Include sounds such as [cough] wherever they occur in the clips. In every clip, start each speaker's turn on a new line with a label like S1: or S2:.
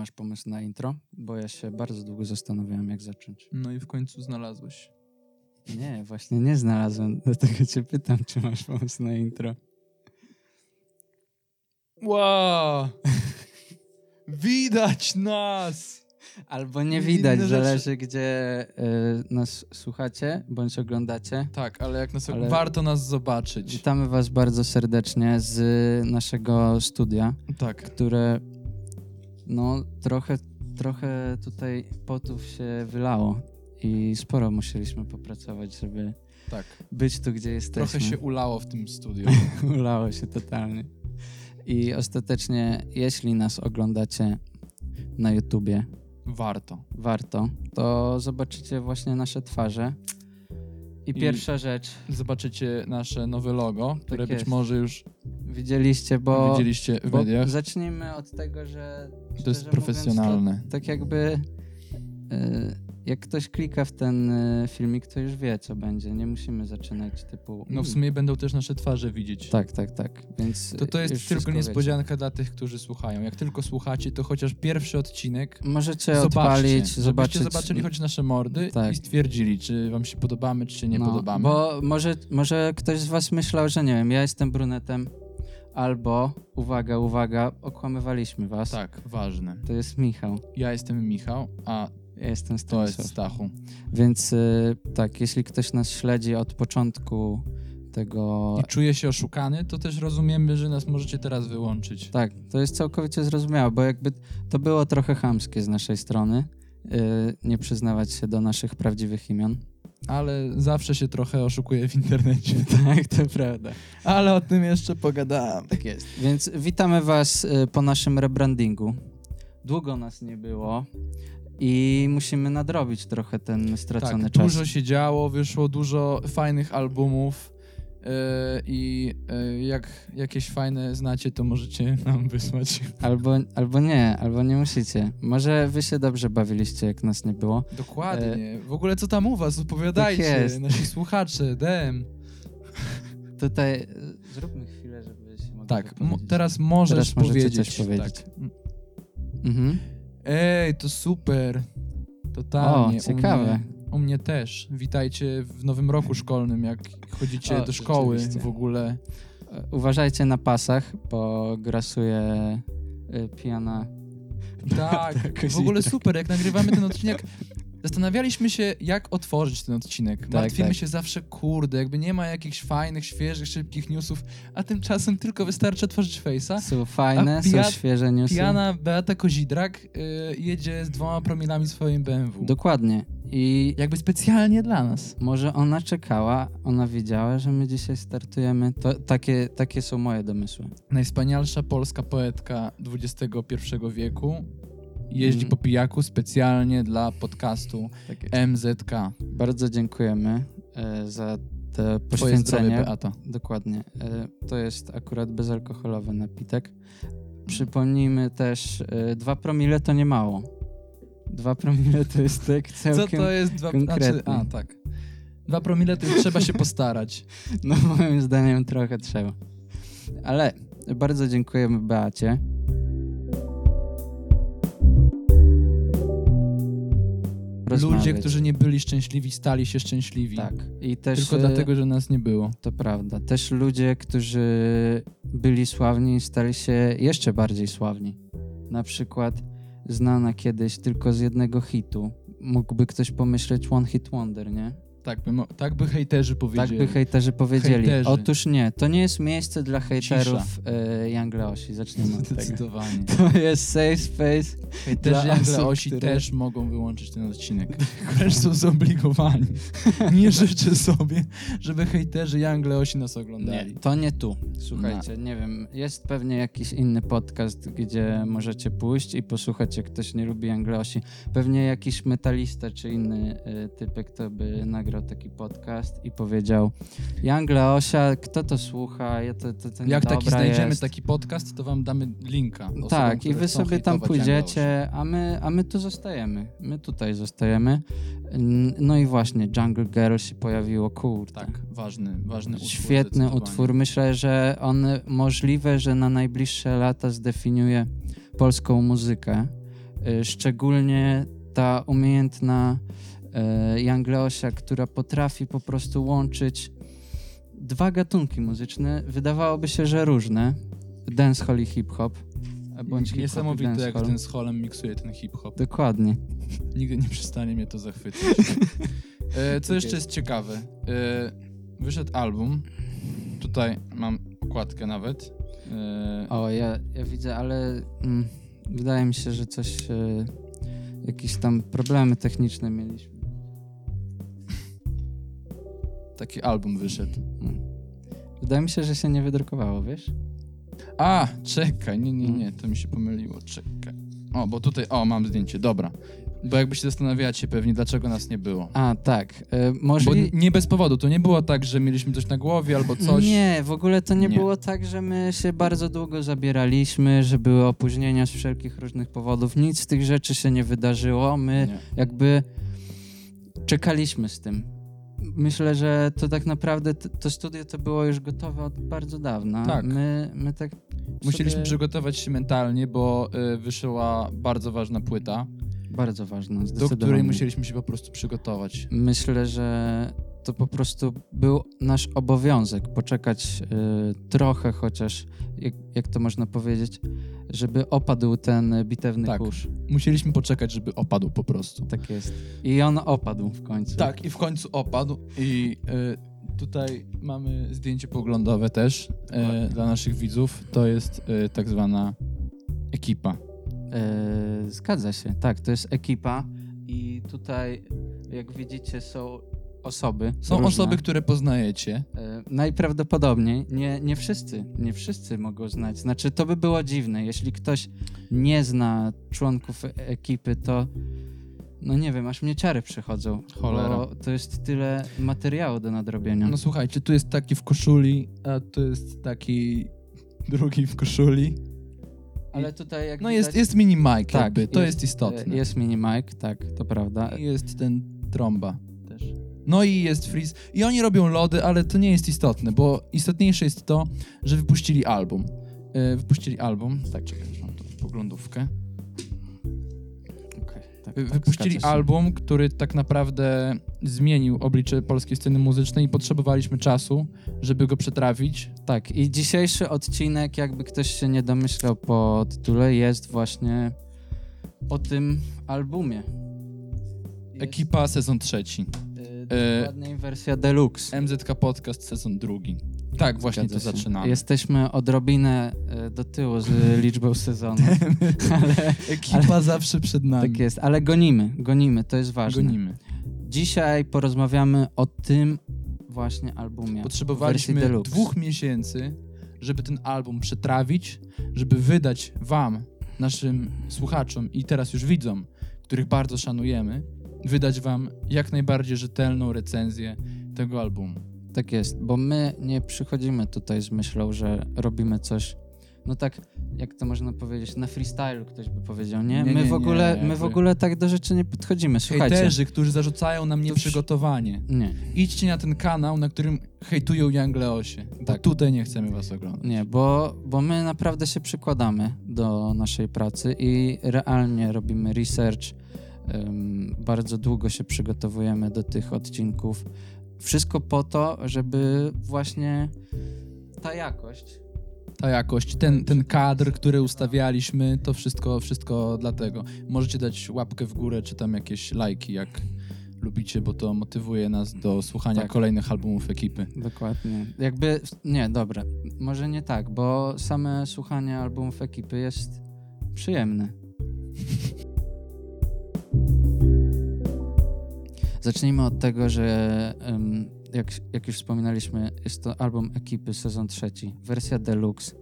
S1: Masz pomysł na intro? Bo ja się bardzo długo zastanawiałem, jak zacząć.
S2: No i w końcu znalazłeś.
S1: Nie, właśnie nie znalazłem. Dlatego cię pytam, czy masz pomysł na intro.
S2: Wow! [laughs] Widać nas!
S1: Albo nie
S2: Inne
S1: widać,
S2: rzeczy.
S1: zależy gdzie y, nas słuchacie bądź oglądacie.
S2: Tak, ale jak nas
S1: Ale-
S2: warto nas zobaczyć.
S1: Witamy was bardzo serdecznie z naszego studia,
S2: Tak.
S1: które no trochę, trochę tutaj potów się wylało i sporo musieliśmy popracować, żeby
S2: Tak.
S1: być tu, gdzie jesteśmy.
S2: Trochę się ulało w
S1: [laughs]
S2: tym studiu.
S1: Ulało się totalnie. I ostatecznie, jeśli nas oglądacie na YouTubie,
S2: Warto.
S1: warto, to zobaczycie właśnie nasze twarze. I,
S2: I-
S1: pierwsza rzecz,
S2: Zobaczycie nasze nowe logo, które być
S1: Tak jest.
S2: może już
S1: widzieliście, bo,
S2: widzieliście w
S1: bo
S2: mediach.
S1: zacznijmy od tego, że
S2: To jest
S1: szczerze mówiąc,
S2: profesjonalne.
S1: tak jakby y, jak ktoś klika w ten y, filmik, to już wie, co będzie. Nie musimy zaczynać typu... "Hmm,
S2: No w sumie będą też nasze twarze widzieć.
S1: Tak, tak, tak. Więc
S2: To, to
S1: y,
S2: jest
S1: już
S2: tylko
S1: wszystko wiecie.
S2: niespodzianka dla tych, którzy słuchają. Jak tylko słuchacie, to chociaż pierwszy odcinek
S1: Możecie
S2: zobaczcie.
S1: odpalić,
S2: Żebyście
S1: zobaczyć.
S2: zobaczyli choć nasze mordy
S1: Tak.
S2: i stwierdzili, czy wam się podobamy, czy nie
S1: No,
S2: podobamy.
S1: Bo może, może ktoś z was myślał, że nie wiem, ja jestem brunetem, albo, uwaga, uwaga, okłamywaliśmy was.
S2: Tak, ważne.
S1: To jest Michał,
S2: Ja jestem Michał, a
S1: ja jestem
S2: to
S1: Stanisław.
S2: jest Stachu.
S1: Więc y, tak, jeśli ktoś nas śledzi od początku tego...
S2: I czuję się oszukany, to też rozumiemy, że nas możecie teraz wyłączyć.
S1: Tak, to jest całkowicie zrozumiałe, bo jakby to było trochę chamskie z naszej strony, y, nie przyznawać się do naszych prawdziwych imion.
S2: Ale zawsze się trochę oszukuję w internecie.
S1: [laughs] Tak, to prawda.
S2: Ale o tym jeszcze pogadałem.
S1: Tak jest. Więc witamy Was y, po naszym rebrandingu. Długo nas nie było i musimy nadrobić trochę ten stracony
S2: Tak,
S1: czas.
S2: dużo się działo, wyszło dużo fajnych albumów. yy, I yy, jak jakieś fajne znacie, to możecie [laughs] nam wysłać.
S1: Albo, albo nie, albo nie musicie. Może Wy się dobrze bawiliście, jak nas nie było.
S2: Dokładnie. E, W ogóle co tam u was? Opowiadajcie,
S1: Tak jest.
S2: nasi słuchacze, DM.
S1: Tutaj y, zróbmy chwilę, żeby się mogli
S2: Tak, mo-
S1: wypowiedzieć.
S2: teraz możesz
S1: Teraz możecie
S2: powiedzieć.
S1: coś powiedzieć.
S2: Tak.
S1: Mhm.
S2: Ej, to super.
S1: O,
S2: Totalnie. U
S1: ciekawe.
S2: mnie, u mnie też. Witajcie w nowym roku szkolnym, jak chodzicie
S1: O,
S2: do szkoły
S1: rzeczywiście.
S2: w ogóle.
S1: E, Uważajcie na pasach, bo grasuje y, pijana.
S2: Tak,
S1: Jakoś
S2: w
S1: [laughs]
S2: ogóle
S1: tak.
S2: super, jak
S1: [laughs]
S2: nagrywamy ten odcinek. Zastanawialiśmy się, jak otworzyć ten odcinek. Martwimy
S1: tak.
S2: się zawsze, kurde, jakby nie ma jakichś fajnych, świeżych, szybkich newsów, a tymczasem tylko wystarczy otworzyć face'a.
S1: Są fajne,
S2: pija-
S1: są świeże newsy.
S2: Pijana Beata Kozidrak y, jedzie z dwoma promilami w swoim BMW.
S1: Dokładnie. I
S2: Jakby specjalnie dla nas.
S1: Może ona czekała, ona wiedziała, że my dzisiaj startujemy. To, takie, takie są moje domysły.
S2: Najwspanialsza polska poetka XXI wieku jeździ
S1: Mm.
S2: po pijaku specjalnie dla podcastu MZK.
S1: E, Bardzo dziękujemy e, za to
S2: Twoje zdrowie,
S1: poświęcenie.
S2: Beata.
S1: Dokładnie. E, to jest akurat bezalkoholowy napitek. Przypomnijmy też, e, dwa promile to nie mało. Dwa promile to jest tak
S2: Co
S1: całkiem...
S2: to jest dwa... Znaczy,
S1: konkretnie.
S2: a, tak. Dwa promile to już trzeba się postarać.
S1: No moim zdaniem trochę trzeba. Ale bardzo dziękujemy Beacie.
S2: Ludzie,
S1: [laughs] Rozmawiać.
S2: którzy nie byli szczęśliwi, stali się szczęśliwi.
S1: Tak. I też
S2: Tylko
S1: e,
S2: dlatego, że nas nie było.
S1: to prawda. Też ludzie, którzy byli sławni, stali się jeszcze bardziej sławni. Na przykład znana kiedyś tylko z jednego hitu. Mógłby ktoś pomyśleć One Hit Wonder, nie?
S2: Tak by, mo- tak by hejterzy
S1: Tak
S2: powiedzieli.
S1: by hejterzy powiedzieli.
S2: Hejterzy.
S1: Otóż nie, to nie jest miejsce dla hejterów y, Young Leosi. Zacznijmy
S2: [laughs]
S1: od tego.
S2: Zdecydowanie.
S1: To jest safe space.
S2: Hejterzy
S1: Dla
S2: Jangle
S1: osób,
S2: Osi
S1: które-
S2: też mogą wyłączyć ten [laughs] odcinek. Wręcz są
S1: [laughs]
S2: zobligowani. Nie życzę sobie, żeby hejterzy Jangle Osi nas
S1: Nie,
S2: oglądali. No.
S1: to nie tu. Słuchajcie, nie wiem, jest pewnie jakiś inny podcast, gdzie możecie pójść i posłuchać, jak ktoś nie lubi Young Leosi. Pewnie jakiś metalista czy inny y, typek, to by nagrał taki podcast i powiedział Young Leosia, kto to słucha? Ja to, to, to
S2: Jak taki
S1: niedobra
S2: znajdziemy
S1: jest.
S2: taki podcast, to wam damy linka. osobom,
S1: Tak, i
S2: które
S1: wy
S2: chcą
S1: sobie tam
S2: hejtować Jungle
S1: pójdziecie, a my, a my tu zostajemy. My tutaj zostajemy. Mm, No i właśnie, Jungle Girl się pojawiło, kurde.
S2: Osi. Tak, ważny, ważny utwór.
S1: Świetny
S2: zdecydowanie.
S1: utwór. Myślę, że on możliwe, że na najbliższe lata zdefiniuje polską muzykę. Y, Szczególnie ta umiejętna y, Jangleosia, która potrafi po prostu łączyć dwa gatunki muzyczne, wydawałoby się, że różne, dancehall i hip-hop, e, bądź hip-hop i
S2: Niesamowite, jak
S1: dancehall.
S2: ten z holem miksuje ten hip-hop.
S1: Dokładnie.
S2: Nigdy nie przestanie mnie to
S1: [laughs]
S2: zachwycać. E, co jeszcze jest ciekawe? E, wyszedł album. Tutaj mam okładkę nawet. E,
S1: O, ja, ja widzę, ale mm, wydaje mi się, że coś, y, jakieś tam problemy techniczne mieliśmy.
S2: taki album wyszedł.
S1: Mm. Wydaje mi się, że się nie wydrukowało, wiesz?
S2: A, czekaj, nie, nie, nie, to mi się pomyliło, czekaj. O, bo tutaj, o, mam zdjęcie, dobra. Bo jakby się zastanawiacie pewnie, dlaczego nas nie było.
S1: A, tak. Y, może...
S2: Bo n- nie bez powodu, to nie było tak, że mieliśmy coś na głowie albo coś.
S1: Nie, w ogóle to nie,
S2: Nie.
S1: było tak, że my się bardzo długo zabieraliśmy, że były opóźnienia z wszelkich różnych powodów. Nic z tych rzeczy się nie wydarzyło. My
S2: Nie.
S1: jakby czekaliśmy z tym. Myślę, że to tak naprawdę t- to studio to było już gotowe od bardzo dawna.
S2: Tak.
S1: My, my tak.
S2: Musieliśmy
S1: sobie...
S2: przygotować się mentalnie, bo y, wyszła bardzo ważna płyta,
S1: Bardzo ważne,
S2: do
S1: zdecydowanie.
S2: której musieliśmy się po prostu przygotować.
S1: Myślę, że to po prostu był nasz obowiązek poczekać y, trochę chociaż, jak, jak to można powiedzieć, żeby opadł ten y, bitewny
S2: Tak.
S1: kurz.
S2: Musieliśmy poczekać, żeby opadł po prostu.
S1: Tak jest. I on opadł w końcu.
S2: Tak, i w końcu opadł. I y, tutaj mamy zdjęcie poglądowe też y,
S1: Dokładnie.
S2: dla naszych widzów. To jest y, tak zwana ekipa.
S1: E, zgadza się, tak, to jest ekipa i tutaj, jak widzicie, są osoby.
S2: Są
S1: różne.
S2: osoby, które poznajecie.
S1: E, Najprawdopodobniej nie, nie wszyscy, nie wszyscy mogą znać. Znaczy, to by było dziwne, jeśli ktoś nie zna członków e- ekipy, to no nie wiem, aż mnie ciary przychodzą.
S2: Cholera.
S1: Bo to jest tyle materiału do nadrobienia.
S2: No słuchajcie, tu jest taki w koszuli, a tu jest taki drugi w koszuli.
S1: Ale tutaj jak
S2: No
S1: widać,
S2: jest, jest mini Mike,
S1: Tak,
S2: jakby. to jest,
S1: e,
S2: istotne.
S1: Jest mini mic, tak, to prawda. E,
S2: I jest ten tromba też. No i jest Freeze. I oni robią lody, ale to nie jest istotne, bo istotniejsze jest to, że wypuścili album. E, wypuścili album. Tak, czekaj, już mam tu poglądówkę.
S1: Okej, tak,
S2: Wy-
S1: tak,
S2: wypuścili
S1: zgadza się.
S2: album, który tak naprawdę zmienił oblicze polskiej sceny muzycznej i potrzebowaliśmy czasu, żeby go przetrawić.
S1: Tak, i dzisiejszy odcinek, jakby ktoś się nie domyślał po tytule, jest właśnie o tym albumie. Jest,
S2: Ekipa sezon trzeci.
S1: y, dokładniej wersja deluxe.
S2: MZK Podcast sezon drugi. Tak, właśnie
S1: Zgadza
S2: to
S1: się.
S2: zaczynamy.
S1: Jesteśmy odrobinę y, do tyłu [laughs] z liczbą sezonów, [laughs] ale
S2: Ekipa zawsze przed nami.
S1: tak jest, ale gonimy, gonimy, to jest ważne.
S2: Gonimy.
S1: Dzisiaj porozmawiamy o tym właśnie albumie. wersji
S2: Potrzebowaliśmy
S1: deluxe.
S2: dwóch miesięcy, żeby ten album przetrawić, żeby wydać wam, naszym słuchaczom i teraz już widzom, których bardzo szanujemy, wydać wam jak najbardziej rzetelną recenzję tego albumu.
S1: Tak jest, bo my nie przychodzimy tutaj z myślą, że robimy coś. No tak, jak to można powiedzieć, na freestylu ktoś by powiedział, nie?
S2: Nie, nie,
S1: my w
S2: nie,
S1: ogóle, my w
S2: jakby-
S1: ogóle tak do rzeczy nie podchodzimy. Słuchajcie.
S2: Hejterzy, którzy zarzucają nam
S1: przy-
S2: nieprzygotowanie.
S1: Nie,
S2: Idźcie na ten kanał, na którym hejtują Jangleosie.
S1: Tak.
S2: Tak. Tutaj nie chcemy was oglądać.
S1: nie, bo, bo my naprawdę się przykładamy do naszej pracy i realnie robimy research. Ym, bardzo długo się przygotowujemy do tych odcinków. Wszystko po to, żeby właśnie ta jakość
S2: Ta jakość, ten, ten kadr, który ustawialiśmy, to wszystko, wszystko dlatego. Możecie dać łapkę w górę, czy tam jakieś lajki, jak lubicie, bo to motywuje nas do słuchania
S1: Tak.
S2: kolejnych albumów ekipy.
S1: Dokładnie. Jakby, nie, dobra, może nie tak, bo same słuchanie albumów ekipy jest przyjemne. Zacznijmy od tego, że em, jak, jak już wspominaliśmy, jest to album ekipy sezon trzeci, wersja deluxe,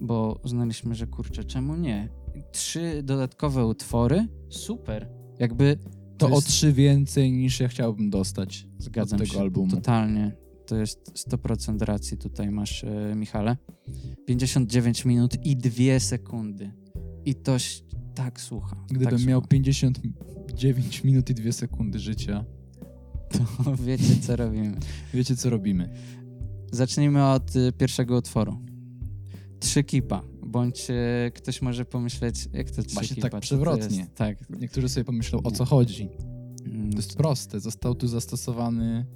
S1: bo uznaliśmy, że kurczę, czemu nie? Trzy dodatkowe utwory? Super. Jakby
S2: To o
S1: jest-
S2: trzy więcej niż ja chciałbym dostać
S1: Zgadzam
S2: od tego
S1: się.
S2: albumu.
S1: Totalnie. To jest 100% racji tutaj masz, e, Michale. 59 minut i 2 sekundy. I to ś- tak słucha.
S2: Gdybym
S1: tak
S2: miał
S1: słucha.
S2: 59 minut i 2 sekundy życia,
S1: To [laughs] wiecie, co robimy.
S2: wiecie co robimy.
S1: Zacznijmy od y, pierwszego utworu. Trzy kipa, bądź e, ktoś może pomyśleć, jak to
S2: Właśnie
S1: tricky
S2: tak
S1: patch
S2: przewrotnie.
S1: Jest, tak.
S2: Niektórzy sobie pomyślą, o
S1: Nie.
S2: co chodzi.
S1: Mm,
S2: To jest proste. Został tu zastosowany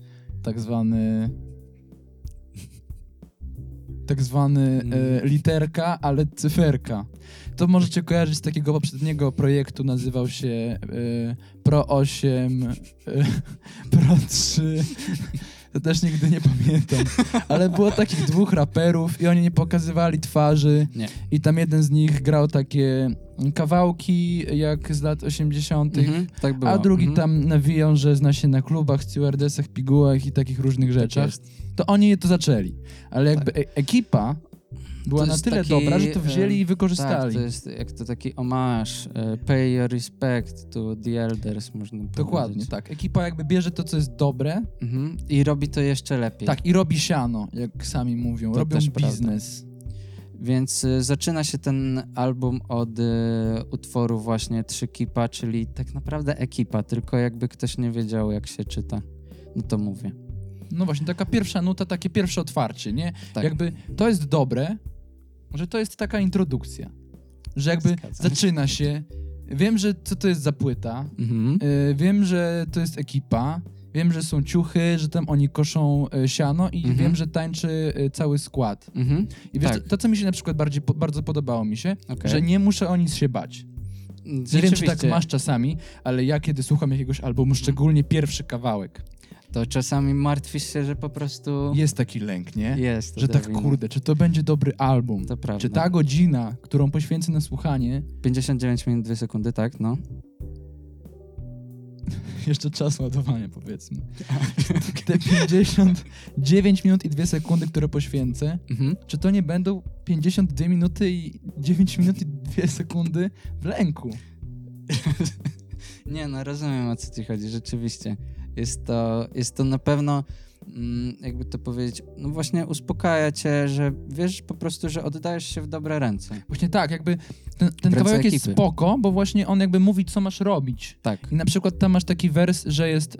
S2: tak zwany. Tak zwany e,
S1: Mm.
S2: literka, ale cyferka. To możecie kojarzyć z takiego poprzedniego projektu, nazywał się e, Pro 8, e, [laughs] Pro 3. To też nigdy nie pamiętam. Ale było takich dwóch raperów i oni nie pokazywali twarzy.
S1: Nie.
S2: I tam jeden z nich grał takie kawałki jak z lat 80.
S1: mhm, tak było.
S2: A drugi
S1: mhm.
S2: tam nawiją, że zna się na klubach, stewardessach, pigułach i takich różnych
S1: Tak
S2: rzeczach. To oni to zaczęli. Ale jakby e- ekipa była
S1: To
S2: na
S1: jest
S2: tyle
S1: taki,
S2: dobra, że to
S1: em,
S2: wzięli i wykorzystali.
S1: Tak, to jest jak to taki omasz, e, pay your respect to the elders, można powiedzieć.
S2: Dokładnie, tak. Ekipa jakby bierze to, co jest dobre,
S1: Mhm. I robi to jeszcze lepiej.
S2: tak, i robi siano, jak sami mówią.
S1: To
S2: Robią
S1: też prawda.
S2: biznes.
S1: Więc y, zaczyna się ten album od y, utworu właśnie Trzy Kipa, czyli tak naprawdę ekipa, tylko jakby ktoś nie wiedział, jak się czyta. No to mówię.
S2: No właśnie, taka pierwsza nuta, takie pierwsze otwarcie, nie?
S1: Tak.
S2: Jakby to jest dobre, że to jest taka introdukcja. Że jakby
S1: Zgadzam się.
S2: zaczyna się, wiem, że co to jest za płyta,
S1: Mhm.
S2: Y, Wiem, że to jest ekipa. Wiem, że są ciuchy, że tam oni koszą y, siano i
S1: Mhm.
S2: wiem, że tańczy y, cały skład.
S1: Mhm.
S2: I wiesz,
S1: Tak.
S2: to, to, co mi się na przykład bardziej, po, bardzo podobało mi się,
S1: Okej.
S2: że nie muszę o nic się bać. Nie wiem, czy tak
S1: Rzeczywiście, Mhm.
S2: masz czasami, ale ja kiedy słucham jakiegoś albumu, szczególnie pierwszy kawałek,
S1: To czasami martwisz się, że po prostu
S2: jest taki lęk, nie?
S1: No. jest.
S2: że tak,
S1: Dawid.
S2: kurde, czy to będzie dobry album?
S1: To prawda.
S2: Czy tak? ta godzina, którą poświęcę na słuchanie, [laughs]
S1: 59 minut, 2 sekundy, tak, no.
S2: jeszcze czas ładowania powiedzmy,
S1: Tak.
S2: te 59 minut i 2 sekundy, które poświęcę,
S1: Mhm.
S2: czy to nie będą 52 minuty i 9 minut i 2 sekundy w lęku?
S1: Nie, no rozumiem o co ci chodzi, rzeczywiście. Jest to, jest to na pewno, mm, jakby to powiedzieć, no właśnie uspokaja cię, że wiesz po prostu, że oddajesz się w dobre ręce.
S2: Właśnie tak, jakby ten, ten
S1: Ręce
S2: kawałek jest
S1: ekipy.
S2: spoko, bo właśnie on jakby mówi, co masz robić.
S1: Tak.
S2: I na przykład tam masz taki wers, że jest y,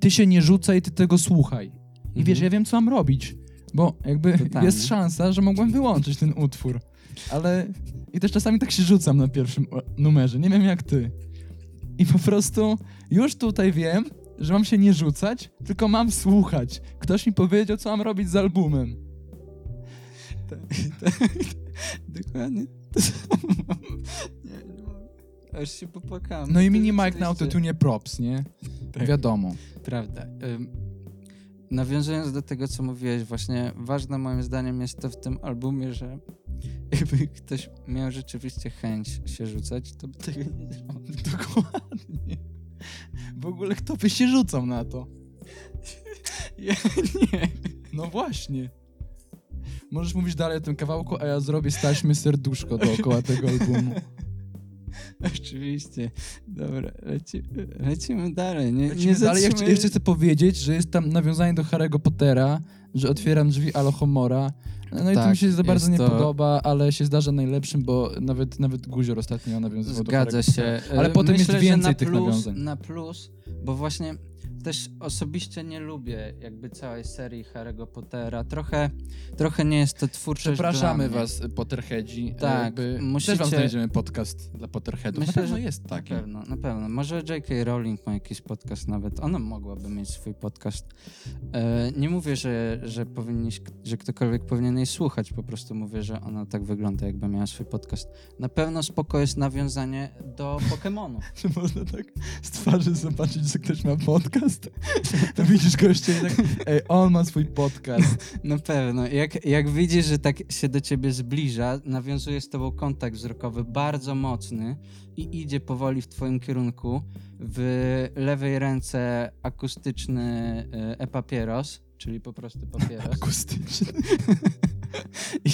S2: ty się nie rzucaj, ty tego słuchaj. I
S1: Mhm.
S2: wiesz, ja wiem, co mam robić, bo jakby
S1: Totalnie.
S2: jest szansa, że mogłem wyłączyć ten utwór. Ale i też czasami tak się rzucam na pierwszym o- numerze, nie wiem jak ty. I po prostu już tutaj wiem, że mam się nie rzucać, tylko mam słuchać. Ktoś mi powiedział, co mam robić z albumem.
S1: Dokładnie. [laughs] nie, nie mogę. Aż się popłakałem.
S2: No i mini Mike na autotunie props, nie? Wiadomo.
S1: Prawda. Ym, nawiązując do tego, co mówiłeś, właśnie ważne moim zdaniem jest to w tym albumie, że [laughs] jakby ktoś miał rzeczywiście chęć się rzucać, to by tego nie zrobił.
S2: [laughs] Dokładnie. W ogóle kto by się rzucał na to? [laughs]
S1: Ja nie.
S2: No właśnie. Możesz mówić dalej o tym kawałku, a ja zrobię staśmy serduszko dookoła tego albumu.
S1: [laughs] Oczywiście. Dobra, leci, [laughs] lecimy dalej. Nie,
S2: Lecimy
S1: nie
S2: dalej. Ja chci-
S1: zatrzymujemy-
S2: jeszcze chcę powiedzieć, że jest tam nawiązanie do Harry'ego Pottera, że otwieram drzwi Alohomora. No i to
S1: Tak,
S2: mi się za bardzo
S1: jest
S2: nie
S1: to-
S2: podoba, ale się zdarza najlepszym, bo nawet, nawet Guzior ostatnio nawiązywał do
S1: Zgadza
S2: Harry'ego
S1: się.
S2: Ale
S1: Y,
S2: potem
S1: Myślę,
S2: jest
S1: że
S2: więcej
S1: na
S2: tych
S1: plus,
S2: nawiązań.
S1: Na plus, bo właśnie też osobiście nie lubię jakby całej serii Harry'ego Pottera. Trochę, trochę nie jest to twórczość
S2: Przepraszamy
S1: dla mnie.
S2: was, Potterheadzi. E,
S1: Tak,
S2: Jakby
S1: musicie-
S2: Też wam znajdziemy podcast dla Potterheadów.
S1: Myślę,
S2: na pewno
S1: że-
S2: jest
S1: Na
S2: taki. [laughs]
S1: pewno, na pewno. Może J.K. Rowling ma jakiś podcast nawet. Ona mogłaby mieć swój podcast. E, nie mówię, że, że, powinniś, że ktokolwiek powinien jej słuchać. Po prostu mówię, że ona tak wygląda, jakby miała swój podcast. Na pewno spoko jest nawiązanie do Pokémonu.
S2: Czy można tak z twarzy zobaczyć, że ktoś ma podcast? To widzisz gościa i tak, ej, on ma swój
S1: [laughs]
S2: podcast.
S1: Na No pewno. Jak, jak widzisz, że tak się do ciebie zbliża, nawiązuje z tobą kontakt wzrokowy bardzo mocny i idzie powoli w twoim kierunku. W lewej ręce akustyczny e, e-papieros, czyli po prostu papieros.
S2: [laughs] Akustyczny.
S1: I,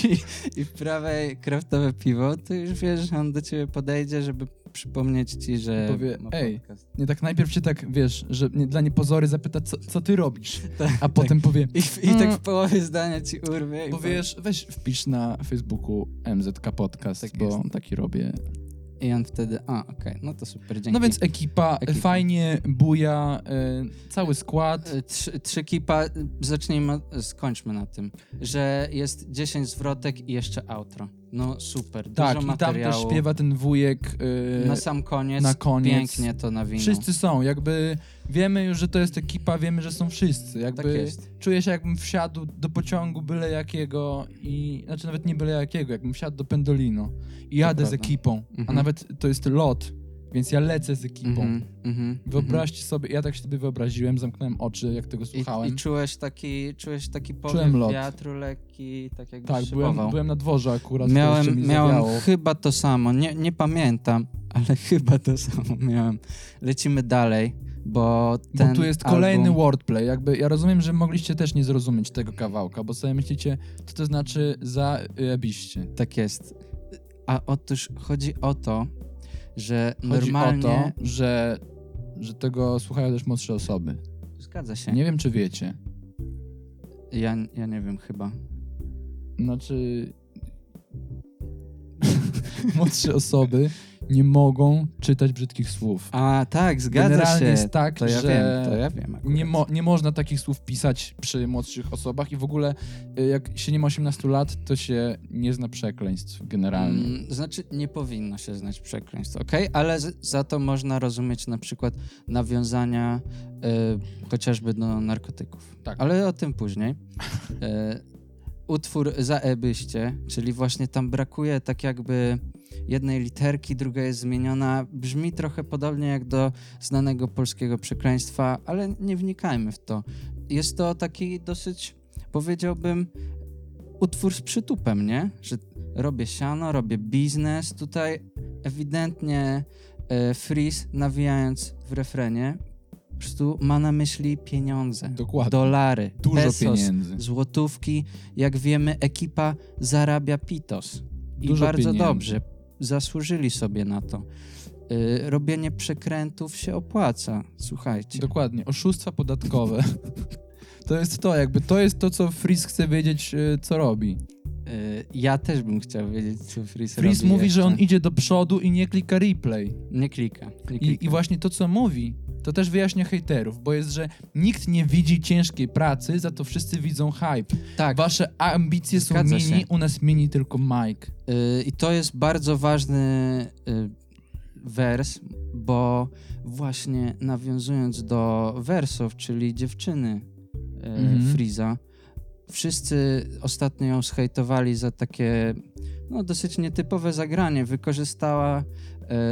S1: I w prawej kraftowe piwo, to już wiesz, że on do ciebie podejdzie, żeby przypomnieć ci, że
S2: Powie,
S1: ma
S2: "Ej".
S1: podcast.
S2: Nie, tak najpierw cię tak, wiesz, że nie, dla niepozory zapyta, co, co ty robisz,
S1: Tak,
S2: a potem powie,
S1: I, w- I tak w połowie zdania ci urwie. i
S2: bo wiesz, weź wpisz na Facebooku MZK Podcast,
S1: Tak
S2: bo
S1: jest.
S2: taki robię.
S1: powie- I on wtedy, a okej, no to super, dzięki.
S2: No więc ekipa,
S1: Ekipa.
S2: fajnie, buja, y, cały skład.
S1: Y, Trzy, trzy kipa, y, zacznijmy, skończmy na tym, że jest 10 zwrotek i jeszcze outro. No super, dużo
S2: Tak, i tam też
S1: materiału.
S2: śpiewa ten wujek yy,
S1: na sam koniec,
S2: na koniec.
S1: pięknie to nawinął.
S2: Wszyscy są, jakby wiemy już, że to jest ekipa, wiemy, że są wszyscy. Jakby
S1: Tak jest.
S2: czuję się, jakbym wsiadł do pociągu byle jakiego i znaczy nawet nie byle jakiego, jakbym wsiadł do Pendolino i jadę z
S1: prawda.
S2: ekipą, a
S1: Mhm.
S2: nawet to jest lot, więc ja lecę z ekipą.
S1: Mhm, mhm,
S2: Wyobraźcie sobie, ja tak się sobie wyobraziłem, zamknąłem oczy, jak tego
S1: mhm. I,
S2: słuchałem.
S1: I czułeś taki, czułeś taki
S2: Czułem
S1: powiew
S2: lot.
S1: wiatru lekki, tak jakby
S2: tak, byłem,
S1: szybował.
S2: byłem na dworze akurat, to jeszcze
S1: Miałem,
S2: mi
S1: miałem
S2: zawiało.
S1: chyba to samo, nie, nie pamiętam, ale [laughs] chyba to samo miałem. Lecimy dalej, bo ten
S2: Bo tu jest kolejny
S1: album...
S2: wordplay. Jakby ja rozumiem, że mogliście też nie zrozumieć tego kawałka, bo sobie myślicie, co to znaczy zajebiście.
S1: Tak jest. A otóż chodzi o to, że
S2: Chodzi
S1: normalnie...
S2: o to, że, że tego słuchają też młodsze osoby.
S1: Zgadza się.
S2: Nie wiem, czy wiecie.
S1: Ja, ja nie wiem chyba.
S2: Znaczy. [laughs] młodsze osoby nie mogą czytać brzydkich słów.
S1: A tak, zgadza
S2: Generalnie
S1: się.
S2: jest tak,
S1: to ja
S2: że
S1: wiem, to ja wiem. Akurat.
S2: Nie, mo- nie można takich słów pisać przy młodszych osobach i w ogóle y, jak się nie ma 18 lat, to się nie zna przekleństw generalnie.
S1: Mm, Znaczy, nie powinno się znać przekleństw, ok? Ale z, za to można rozumieć na przykład nawiązania y, chociażby do narkotyków.
S2: Tak.
S1: Ale o tym
S2: [laughs]
S1: później. Y, utwór Zaebyście, czyli właśnie tam brakuje tak jakby jednej literki, druga jest zmieniona. Brzmi trochę podobnie jak do znanego polskiego przekleństwa, ale nie wnikajmy w to. Jest to taki dosyć, powiedziałbym, utwór z przytupem, nie? Że robię siano, robię biznes. Tutaj ewidentnie e, Freeze, nawijając w refrenie, po prostu ma na myśli pieniądze,
S2: Dokładnie.
S1: dolary,
S2: Dużo
S1: pesos,
S2: pieniędzy.
S1: złotówki. Jak wiemy, ekipa zarabia pitos. I
S2: Dużo
S1: bardzo
S2: pieniędzy.
S1: dobrze. Zasłużyli sobie na to. Y, robienie przekrętów się opłaca. Słuchajcie.
S2: Dokładnie, oszustwa podatkowe. [laughs] To jest to, jakby to jest to, co Friz chce wiedzieć, y, co robi.
S1: Y, ja też bym chciał wiedzieć, co Freeze
S2: Friz
S1: robi
S2: mówi,
S1: jeszcze.
S2: że on idzie do przodu i nie klika replay.
S1: Nie klika. Nie klika.
S2: I, I właśnie to, co mówi, to też wyjaśnia hejterów, bo jest, że nikt nie widzi ciężkiej pracy, za to wszyscy widzą hype.
S1: tak.
S2: Wasze ambicje są
S1: Zgadza
S2: mini,
S1: się.
S2: u nas mini tylko Mike.
S1: Y, I to jest bardzo ważny y, wers, bo właśnie nawiązując do wersów, czyli dziewczyny y,
S2: Mhm.
S1: Friza, wszyscy ostatnio ją zhejtowali za takie no, dosyć nietypowe zagranie. Wykorzystała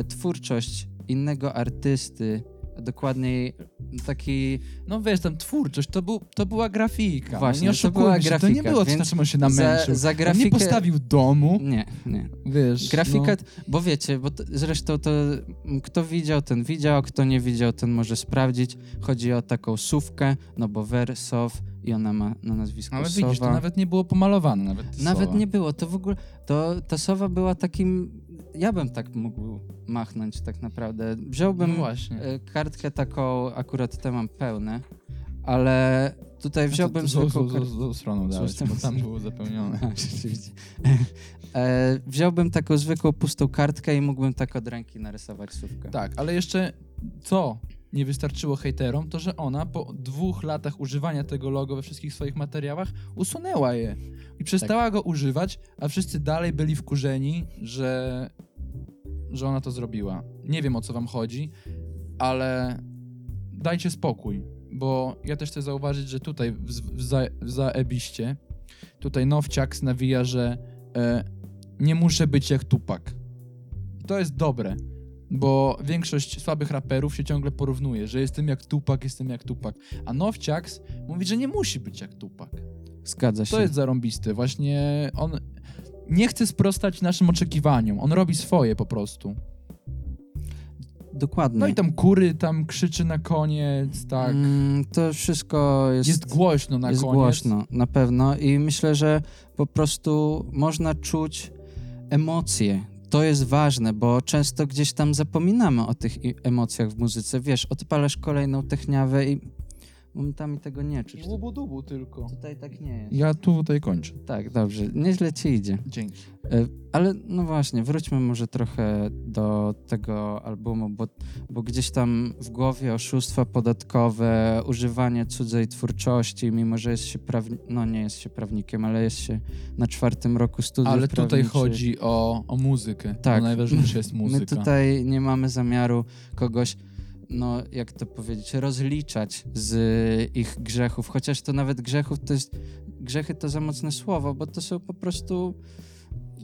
S1: y, twórczość innego artysty, a dokładniej taki
S2: No wiesz, tam twórczość, to, był, to była grafika.
S1: Właśnie,
S2: no nie
S1: to była
S2: oszukujmy się, to nie
S1: grafika,
S2: było, na
S1: więc
S2: czym on się
S1: za,
S2: namęczył.
S1: za
S2: On nie
S1: grafikę...
S2: postawił domu,
S1: nie, nie.
S2: wiesz.
S1: Grafika,
S2: no.
S1: bo wiecie, bo to, zresztą to m, kto widział, ten widział, kto nie widział, ten może sprawdzić. Chodzi o taką sówkę, no bo Wer, Sow i ona ma na nazwisko
S2: No, ale
S1: Sowa.
S2: widzisz, to nawet nie było pomalowane. Nawet, te
S1: Nawet
S2: słowa.
S1: nie było, to w ogóle, to ta Sowa była takim, ja bym tak mógł machnąć tak naprawdę. Wziąłbym
S2: No właśnie.
S1: e, kartkę taką, akurat te mam pełne, ale tutaj wziąłbym zwykłą kartkę.
S2: stroną
S1: dałeś,
S2: dałeś,
S1: bo
S2: bo
S1: tam
S2: tam było zapełnione.
S1: A, [laughs] rzeczywiście. E, wziąłbym taką zwykłą pustą kartkę i mógłbym tak od ręki narysować słówkę.
S2: Tak, ale jeszcze co nie wystarczyło hejterom, to że ona po dwóch latach używania tego logo we wszystkich swoich materiałach usunęła je i przestała go używać, a wszyscy dalej byli wkurzeni, że, że ona to zrobiła. Nie wiem o co wam chodzi, ale dajcie spokój, bo ja też chcę zauważyć, że tutaj w, w, za, w zaebiście tutaj Nowciak nawija, że e, nie muszę być jak Tupak. I to jest dobre, bo większość słabych raperów się ciągle porównuje, że jestem jak Tupak, jestem jak Tupak. A Nowciak mówi, że nie musi być jak Tupak.
S1: Zgadza się.
S2: To jest zarąbiste. Właśnie on nie chce sprostać naszym oczekiwaniom. On robi swoje po prostu.
S1: Dokładnie.
S2: No i tam kury tam krzyczy na koniec, tak.
S1: Mm, to wszystko jest,
S2: jest, głośno na
S1: jest
S2: koniec.
S1: głośno, na pewno. I myślę, że po prostu można czuć emocje. To jest ważne, bo często gdzieś tam zapominamy o tych i- emocjach w muzyce. Wiesz, odpalasz kolejną techniawę i momentami tego nie czuć. Tu-
S2: Łubu-dubu tylko.
S1: Tutaj tak nie jest.
S3: Ja tu tutaj kończę.
S1: Tak, dobrze. Nieźle ci idzie.
S2: Dzięki.
S1: E, Ale no właśnie, wróćmy może trochę do tego albumu, bo, bo gdzieś tam w głowie oszustwa podatkowe, używanie cudzej twórczości, mimo że jest się prawnikiem, no nie jest się prawnikiem, ale jest się na czwartym roku studiów
S2: Ale tutaj
S1: prawniczych.
S2: chodzi o, o muzykę.
S1: Tak.
S2: Tak. Bo najważniejsza jest muzyka.
S1: My tutaj nie mamy zamiaru kogoś, no jak to powiedzieć, rozliczać z ich grzechów, chociaż to nawet grzechów to jest, grzechy to za mocne słowo, bo to są po prostu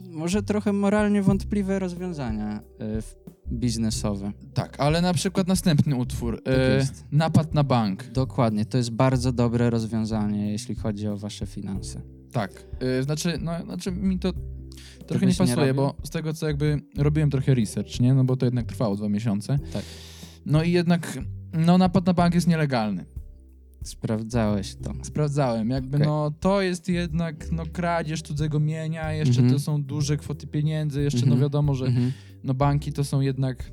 S1: może trochę moralnie wątpliwe rozwiązania y, w- biznesowe.
S2: Tak, ale na przykład następny utwór.
S1: Tak
S2: e,
S1: jest.
S2: napad na bank.
S1: Dokładnie, to jest bardzo dobre rozwiązanie, jeśli chodzi o wasze finanse.
S2: Tak. E, znaczy, no, znaczy mi to trochę nie
S1: byś nie
S2: pasuje,
S1: robił?
S2: bo z tego co jakby robiłem trochę research, nie? No bo to jednak trwało dwa miesiące.
S1: Tak.
S2: No i jednak, no napad na bank jest nielegalny.
S1: Sprawdzałeś to.
S2: Sprawdzałem, jakby
S1: Okej.
S2: no to jest jednak no kradzież cudzego mienia, jeszcze
S1: Mhm.
S2: to są duże kwoty pieniędzy, jeszcze
S1: Mhm.
S2: no wiadomo, że
S1: Mhm.
S2: no banki to są jednak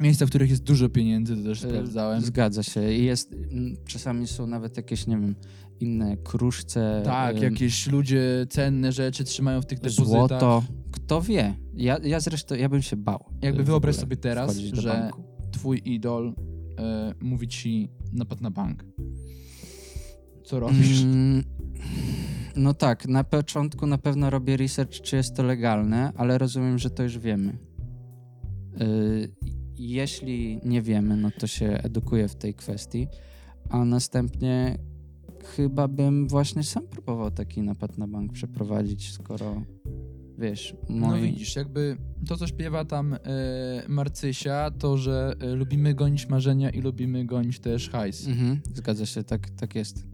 S2: miejsca, w których jest dużo pieniędzy, to też
S1: Y,
S2: sprawdzałem.
S1: Zgadza się. I jest, mm, czasami są nawet jakieś, nie wiem, inne kruszce. e,
S2: Tak,
S1: em,
S2: jakieś ludzie cenne rzeczy trzymają w tych depozytach.
S1: y, złoto. tak. Kto wie? Ja, ja zresztą, ja bym się bał.
S2: Jakby
S1: w
S2: wyobraź
S1: ogóle
S2: sobie teraz,
S1: wchodzić do
S2: że
S1: banku.
S2: twój idol e, mówi ci napad na bank. Co robisz?
S1: Mm, no tak, na początku na pewno robię research, czy jest to legalne, ale rozumiem, że to już wiemy. Y, jeśli nie wiemy, no to się edukuję w tej kwestii, a następnie chyba bym właśnie sam próbował taki napad na bank przeprowadzić, skoro wiesz,
S2: No
S1: moi...
S2: widzisz, jakby to, co śpiewa tam e, Marcysia, to, że e, lubimy gonić marzenia i lubimy gonić też hajs.
S1: mhm, zgadza się, tak, tak jest.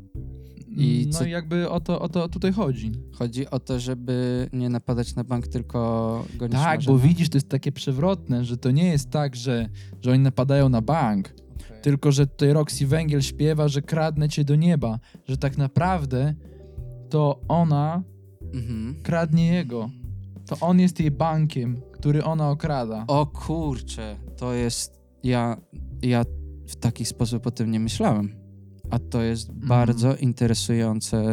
S1: I
S2: no
S1: co-
S2: i jakby o to, o to tutaj chodzi.
S1: Chodzi o to, żeby nie napadać na bank, tylko go nie
S2: Tak, bo widzisz, to jest takie przewrotne, że to nie jest tak, że, że oni napadają na bank, tylko że tutaj Roxy Węgiel śpiewa, że kradnę cię do nieba, że tak naprawdę to ona
S1: Mhm.
S2: kradnie jego. To on jest jej bankiem, który ona okrada.
S1: O kurczę, to jest. Ja, ja w taki sposób o tym nie myślałem. A to jest
S2: Mhm.
S1: bardzo interesujące.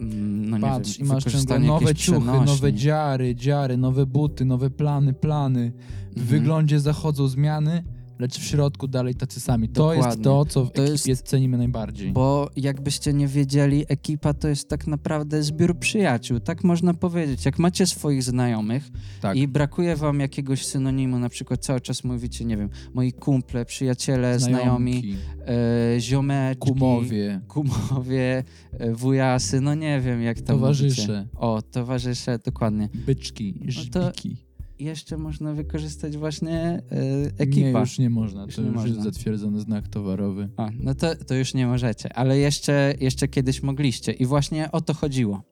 S1: mm, No nie wiem,
S2: Patrz, i masz ciągle
S1: wykorzystanie
S2: nowe
S1: jakiejś
S2: ciuchy, nowe
S1: przenośni.
S2: dziary, dziary, nowe buty, nowe plany, plany. W
S1: Mhm.
S2: wyglądzie zachodzą zmiany, lecz w środku dalej tacy sami. To jest
S1: Dokładnie.
S2: to, co w
S1: To
S2: ekipie
S1: jest-
S2: cenimy najbardziej.
S1: Bo jakbyście nie wiedzieli, ekipa to jest tak naprawdę zbiór przyjaciół, tak można powiedzieć. Jak macie swoich znajomych
S2: Tak.
S1: i brakuje wam jakiegoś synonimu, na przykład cały czas mówicie, nie wiem, moi kumple, przyjaciele, znajomi,
S2: Znajomki,
S1: e, ziomeczki,
S2: kumowie,
S1: kumowie, e, wujasy, no nie wiem jak tam Mówicie.
S2: towarzysze,
S1: O, towarzysze, dokładnie.
S2: byczki,
S1: No to
S2: żbiki.
S1: Jeszcze można wykorzystać właśnie e,
S2: Nie,
S1: ekipa.
S2: już nie można.
S1: Już
S2: to
S1: nie
S2: już jest
S1: można.
S2: zatwierdzony znak towarowy.
S1: A, no to, to już nie możecie, ale jeszcze, jeszcze kiedyś mogliście. I właśnie o to chodziło.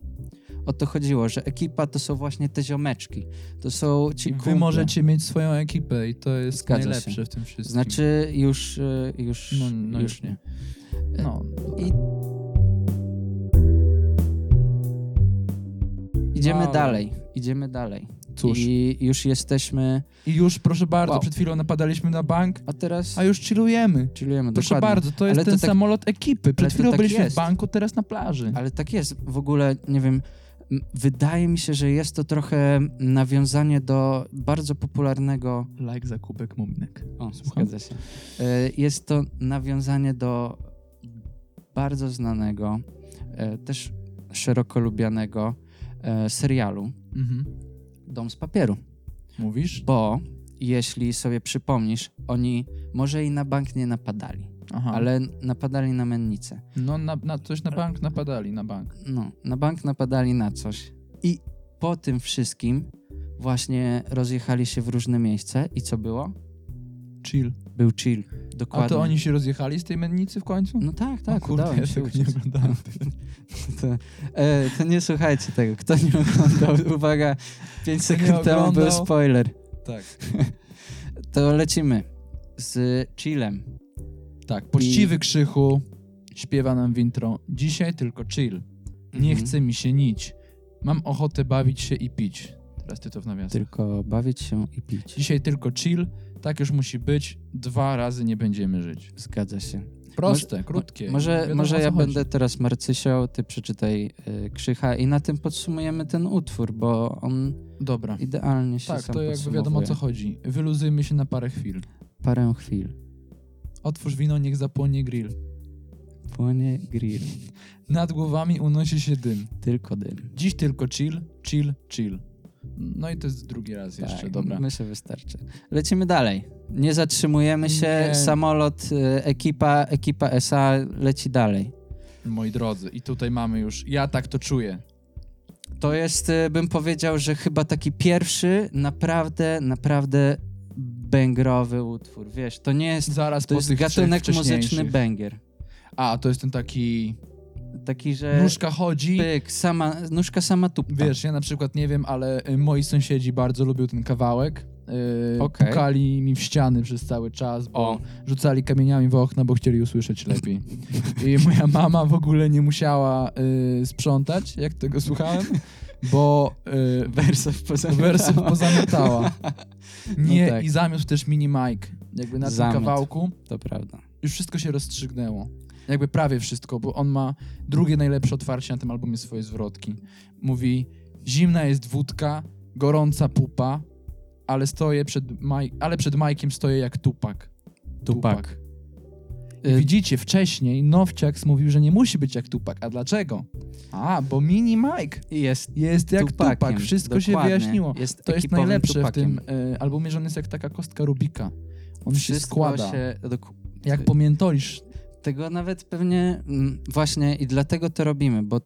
S1: O to chodziło, że ekipa to są właśnie te ziomeczki. To są ci
S2: I wy
S1: kumple.
S2: możecie mieć swoją ekipę i to jest
S1: Zgadza się.
S2: najlepsze w tym wszystkim.
S1: Znaczy już, e, już,
S2: No, no już nie. No,
S1: Idziemy
S2: No, Ale-
S1: dalej, idziemy dalej.
S2: cóż. I,
S1: I już jesteśmy,
S2: już, proszę bardzo,
S1: Wow.
S2: przed chwilą napadaliśmy na bank,
S1: a teraz
S2: a już chillujemy.
S1: chillujemy,
S2: Proszę
S1: dokładnie.
S2: bardzo, to jest
S1: Ale to
S2: ten
S1: tak-
S2: samolot ekipy.
S1: ale
S2: Przed
S1: to
S2: chwilą
S1: tak
S2: byliśmy
S1: jest.
S2: w banku, teraz na plaży.
S1: Ale tak jest. W ogóle, nie wiem, m, wydaje mi się, że jest to trochę nawiązanie do bardzo popularnego...
S2: Like za kubek muminek.
S1: O,
S2: Słucham?
S1: zgadza się. E, Jest to nawiązanie do bardzo znanego, e, też szeroko lubianego e, serialu
S2: Mhm.
S1: Dom z papieru.
S2: Mówisz?
S1: Bo jeśli sobie przypomnisz, oni może i na bank nie napadali,
S2: Aha. Ale...
S1: ale napadali na mennicę.
S2: No, na, na coś na bank napadali, na bank.
S1: No, na bank napadali na coś. I po tym wszystkim właśnie rozjechali się w różne miejsca i co było?
S2: Chill.
S1: Był chill. Dokładnie.
S2: A to oni się rozjechali z tej mennicy w końcu?
S1: No tak, tak,
S2: o, kurde,
S1: udało mi
S2: ja
S1: się
S2: tego nie
S1: uciec.
S2: oglądałem.
S1: [laughs] To, e, to nie słuchajcie tego. Kto nie oglądał, [laughs] uwaga, 5
S2: Kto nie
S1: sekund temu był
S2: oglądał?
S1: spoiler.
S2: tak.
S1: To lecimy z chillem.
S2: Tak, poczciwy krzychu śpiewa nam w intro. Dzisiaj tylko chill. Nie
S1: Mhm.
S2: chce mi się nić. Mam ochotę bawić się i pić. Teraz ty to w nawiasie.
S1: Tylko bawić się i pić.
S2: Dzisiaj tylko chill, tak już musi być, dwa razy nie będziemy żyć.
S1: Zgadza się.
S2: Proste, krótkie.
S1: Może,
S2: wiadomo, o
S1: może
S2: co
S1: ja
S2: chodzi.
S1: będę teraz Marcysiał, ty przeczytaj y, Krzycha i na tym podsumujemy ten utwór, bo on
S2: Dobra.
S1: idealnie się
S2: Tak,
S1: sam
S2: to jakby
S1: podsumowuje.
S2: wiadomo o co chodzi. Wyluzujmy się na parę chwil.
S1: Parę chwil.
S2: Otwórz wino, niech zapłonie grill.
S1: Płonie grill,
S2: Nad głowami unosi się dym.
S1: tylko dym.
S2: Dziś tylko chill, chill, chill. No i to jest drugi raz jeszcze,
S1: tak,
S2: dobra.
S1: Myślę, wystarczy. Lecimy dalej. Nie zatrzymujemy się,
S2: Nie.
S1: samolot, y, ekipa, ekipa SA leci dalej.
S2: Moi drodzy, i tutaj mamy już, ja tak to czuję.
S1: To jest, y, bym powiedział, że chyba taki pierwszy naprawdę, naprawdę bęgrowy utwór. Wiesz, to nie jest,
S2: Zaraz
S1: to
S2: po
S1: jest
S2: tych trzech
S1: gatunek muzyczny
S2: wcześniejszych.
S1: bęgier.
S2: A, to jest ten taki,
S1: Taki, że
S2: nóżka chodzi,
S1: pyk, sama, nóżka sama tupta.
S2: Wiesz, ja na przykład nie wiem, ale y, moi sąsiedzi bardzo lubią ten kawałek. Yy,
S1: Okej.
S2: Pukali mi w ściany przez cały czas, bo
S1: O.
S2: rzucali kamieniami w okna, bo chcieli usłyszeć lepiej. I
S1: [laughs]
S2: moja mama w ogóle nie musiała y, sprzątać, jak tego słuchałem, bo y,
S1: Wersów
S2: [laughs]
S1: poza [laughs]
S2: wersów pozamiatała. Nie,
S1: tak.
S2: i zamiósł też mini Mike. Jakby na
S1: Zamiótł.
S2: tym kawałku
S1: To prawda.
S2: już wszystko się rozstrzygnęło. Jakby prawie wszystko, bo on ma drugie najlepsze otwarcie na tym albumie swoje zwrotki. Mówi, zimna jest wódka, gorąca pupa, ale stoję przed, Maj- ale przed Majkiem stoję jak tupak.
S1: Tupak.
S2: I
S1: Y,
S2: Widzicie, wcześniej Nowciaks mówił, że nie musi być jak tupak. A dlaczego? A, bo mini Mike
S1: I jest
S2: jest jak
S1: tupakiem.
S2: tupak. Wszystko się
S1: dokładnie.
S2: wyjaśniło.
S1: Jest
S2: To jest
S1: ekipowym
S2: najlepsze
S1: tupakiem.
S2: w tym e, albumie, że on jest jak taka kostka Rubika. On
S1: Wszystko
S2: się składa.
S1: się doku-
S2: Jak pomiętolisz
S1: Tego nawet pewnie mm, właśnie i dlatego to robimy, bo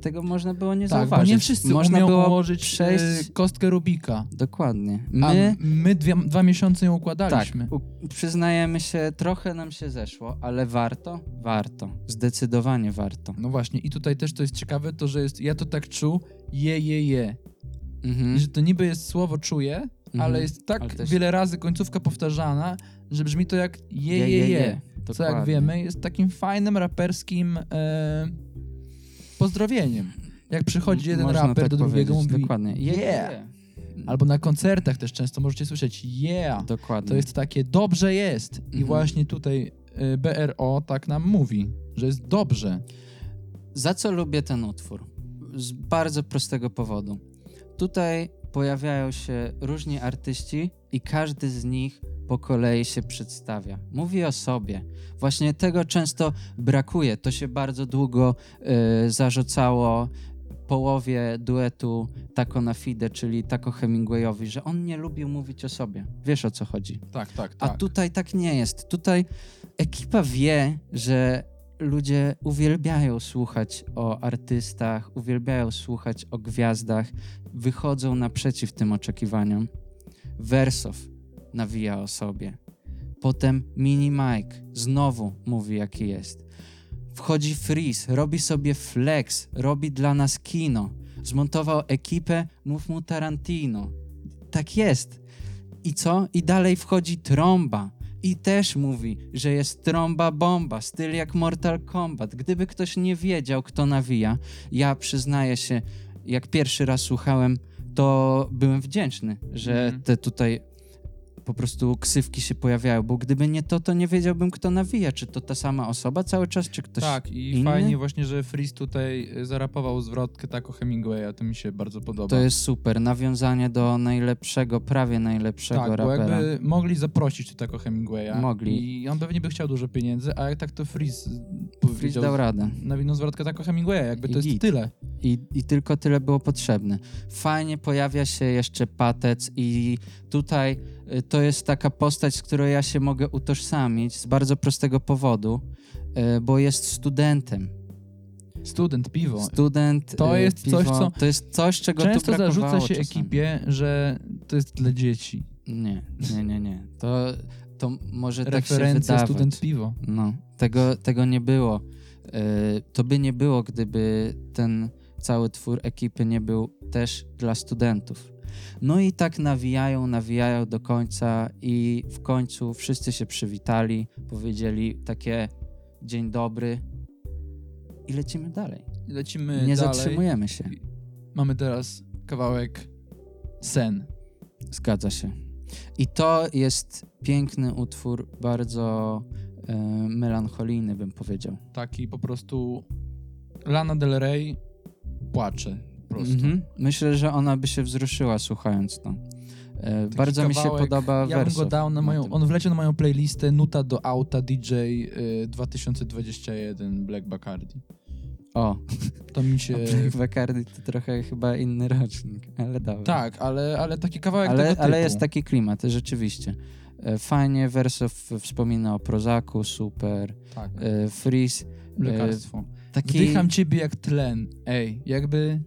S1: tego można było nie
S2: Tak, bo
S1: zauważyć.
S2: nie wszyscy
S1: można
S2: umią
S1: było
S2: ułożyć
S1: przejść.
S2: y, kostkę Rubika.
S1: Dokładnie.
S2: A
S1: My
S2: my dwie, dwa miesiące ją
S1: tak,
S2: układaliśmy.
S1: u- przyznajemy się, trochę nam się zeszło, ale warto, warto. Zdecydowanie warto.
S2: No właśnie, i tutaj też to jest ciekawe, to że jest, ja to tak czuł, je, je, je.
S1: Mhm,
S2: I że to niby jest słowo czuję,
S1: mhm.
S2: ale jest tak
S1: Ale też-
S2: wiele razy końcówka powtarzana, że brzmi to jak je, je, je. Co jak
S1: Dokładnie.
S2: wiemy, jest takim fajnym raperskim e, pozdrowieniem. Jak przychodzi jeden
S1: Można
S2: raper
S1: tak
S2: do drugiego,
S1: powiedzieć,
S2: mówi
S1: Dokładnie. Je, je,
S2: Yeah.
S1: je.
S2: albo na koncertach też często możecie słyszeć yeah.
S1: Dokładnie.
S2: To jest takie dobrze jest. I
S1: Mhm.
S2: właśnie tutaj y, BRO tak nam mówi, że jest dobrze.
S1: Za co lubię ten utwór? Z bardzo prostego powodu. Tutaj pojawiają się różni artyści i każdy z nich po kolei się przedstawia. Mówi o sobie. Właśnie tego często brakuje. To się bardzo długo y, zarzucało połowie duetu Taco na Fide, czyli Taco Hemingwayowi, że on nie lubił mówić o sobie. Wiesz o co chodzi.
S2: Tak, tak,
S1: A tutaj tak nie jest. Tutaj ekipa wie, że ludzie uwielbiają słuchać o artystach, uwielbiają słuchać o gwiazdach, wychodzą naprzeciw tym oczekiwaniom. Wersow nawija o sobie. Potem Mini Mike znowu mówi, jaki jest. Wchodzi Freeze, robi sobie flex, robi dla nas kino. Zmontował ekipę, mów mu Tarantino. Tak jest. I co? I dalej wchodzi trąba. I też mówi, że jest trąba bomba, styl jak Mortal Kombat. Gdyby ktoś nie wiedział, kto nawija, ja przyznaję się, jak pierwszy raz słuchałem, to byłem wdzięczny, że
S2: Mhm.
S1: te tutaj po prostu ksywki się pojawiają, bo gdyby nie to, to nie wiedziałbym, kto nawija. Czy to ta sama osoba cały czas, czy ktoś.
S2: tak, i
S1: inny?
S2: fajnie właśnie, że Freeze tutaj y, zarapował zwrotkę tak o Hemingwaya, to mi się bardzo podoba.
S1: To jest super. Nawiązanie do najlepszego, prawie najlepszego
S2: tak, bo
S1: rapera.
S2: jakby mogli zaprosić tu tak o Hemingwaya.
S1: Mogli.
S2: I on pewnie by chciał dużo pieniędzy, a jak tak to Freeze powiedział,
S1: Freeze dał radę.
S2: nawinął zwrotkę tak o Hemingwaya, jakby
S1: I
S2: to jest
S1: git.
S2: tyle.
S1: I, I tylko tyle było potrzebne. Fajnie pojawia się jeszcze patec, i tutaj y, to jest taka postać, z którą ja się mogę utożsamić z bardzo prostego powodu, y, bo jest studentem.
S2: Student, piwo.
S1: Student.
S2: To
S1: y,
S2: jest coś, co-
S1: To jest coś, czego tu
S2: Często
S1: brakowało
S2: zarzuca się
S1: czasami.
S2: ekipie, że to jest dla dzieci.
S1: Nie, nie, nie, nie. To, to może tak się
S2: Referencja
S1: wydawać.
S2: student piwo.
S1: No, tego, tego nie było. Y, To by nie było, gdyby ten cały twór ekipy nie był też dla studentów. No i tak nawijają, nawijają do końca i w końcu wszyscy się przywitali, powiedzieli takie dzień dobry i lecimy dalej.
S2: Lecimy
S1: Nie
S2: dalej.
S1: zatrzymujemy się.
S2: Mamy teraz kawałek sen.
S1: Zgadza się. I to jest piękny utwór, bardzo e, melancholijny, bym powiedział.
S2: Taki po prostu Lana Del Rey płacze po prostu.
S1: Mhm. Myślę, że ona by się wzruszyła słuchając to. E,
S2: Taki
S1: bardzo mi się
S2: kawałek,
S1: podoba
S2: Ja bym
S1: wersow
S2: go dał na moją,
S1: tym.
S2: on wleciał na moją playlistę Nuta do auta DJ y, 2021 Black Bacardi.
S1: O,
S2: To mi się...
S1: Black Bacardi to trochę chyba inny rocznik, ale dobra.
S2: Tak, ale, ale taki kawałek
S1: ale,
S2: tego
S1: ale
S2: typu.
S1: jest tak- taki klimat, rzeczywiście. E, Fajnie, Wersow wspomina o Prozaku, super.
S2: Tak,
S1: E, Freeze,
S2: lekarstwo.
S1: taki...
S2: Wdycham ciebie jak tlen. Ej, jakby...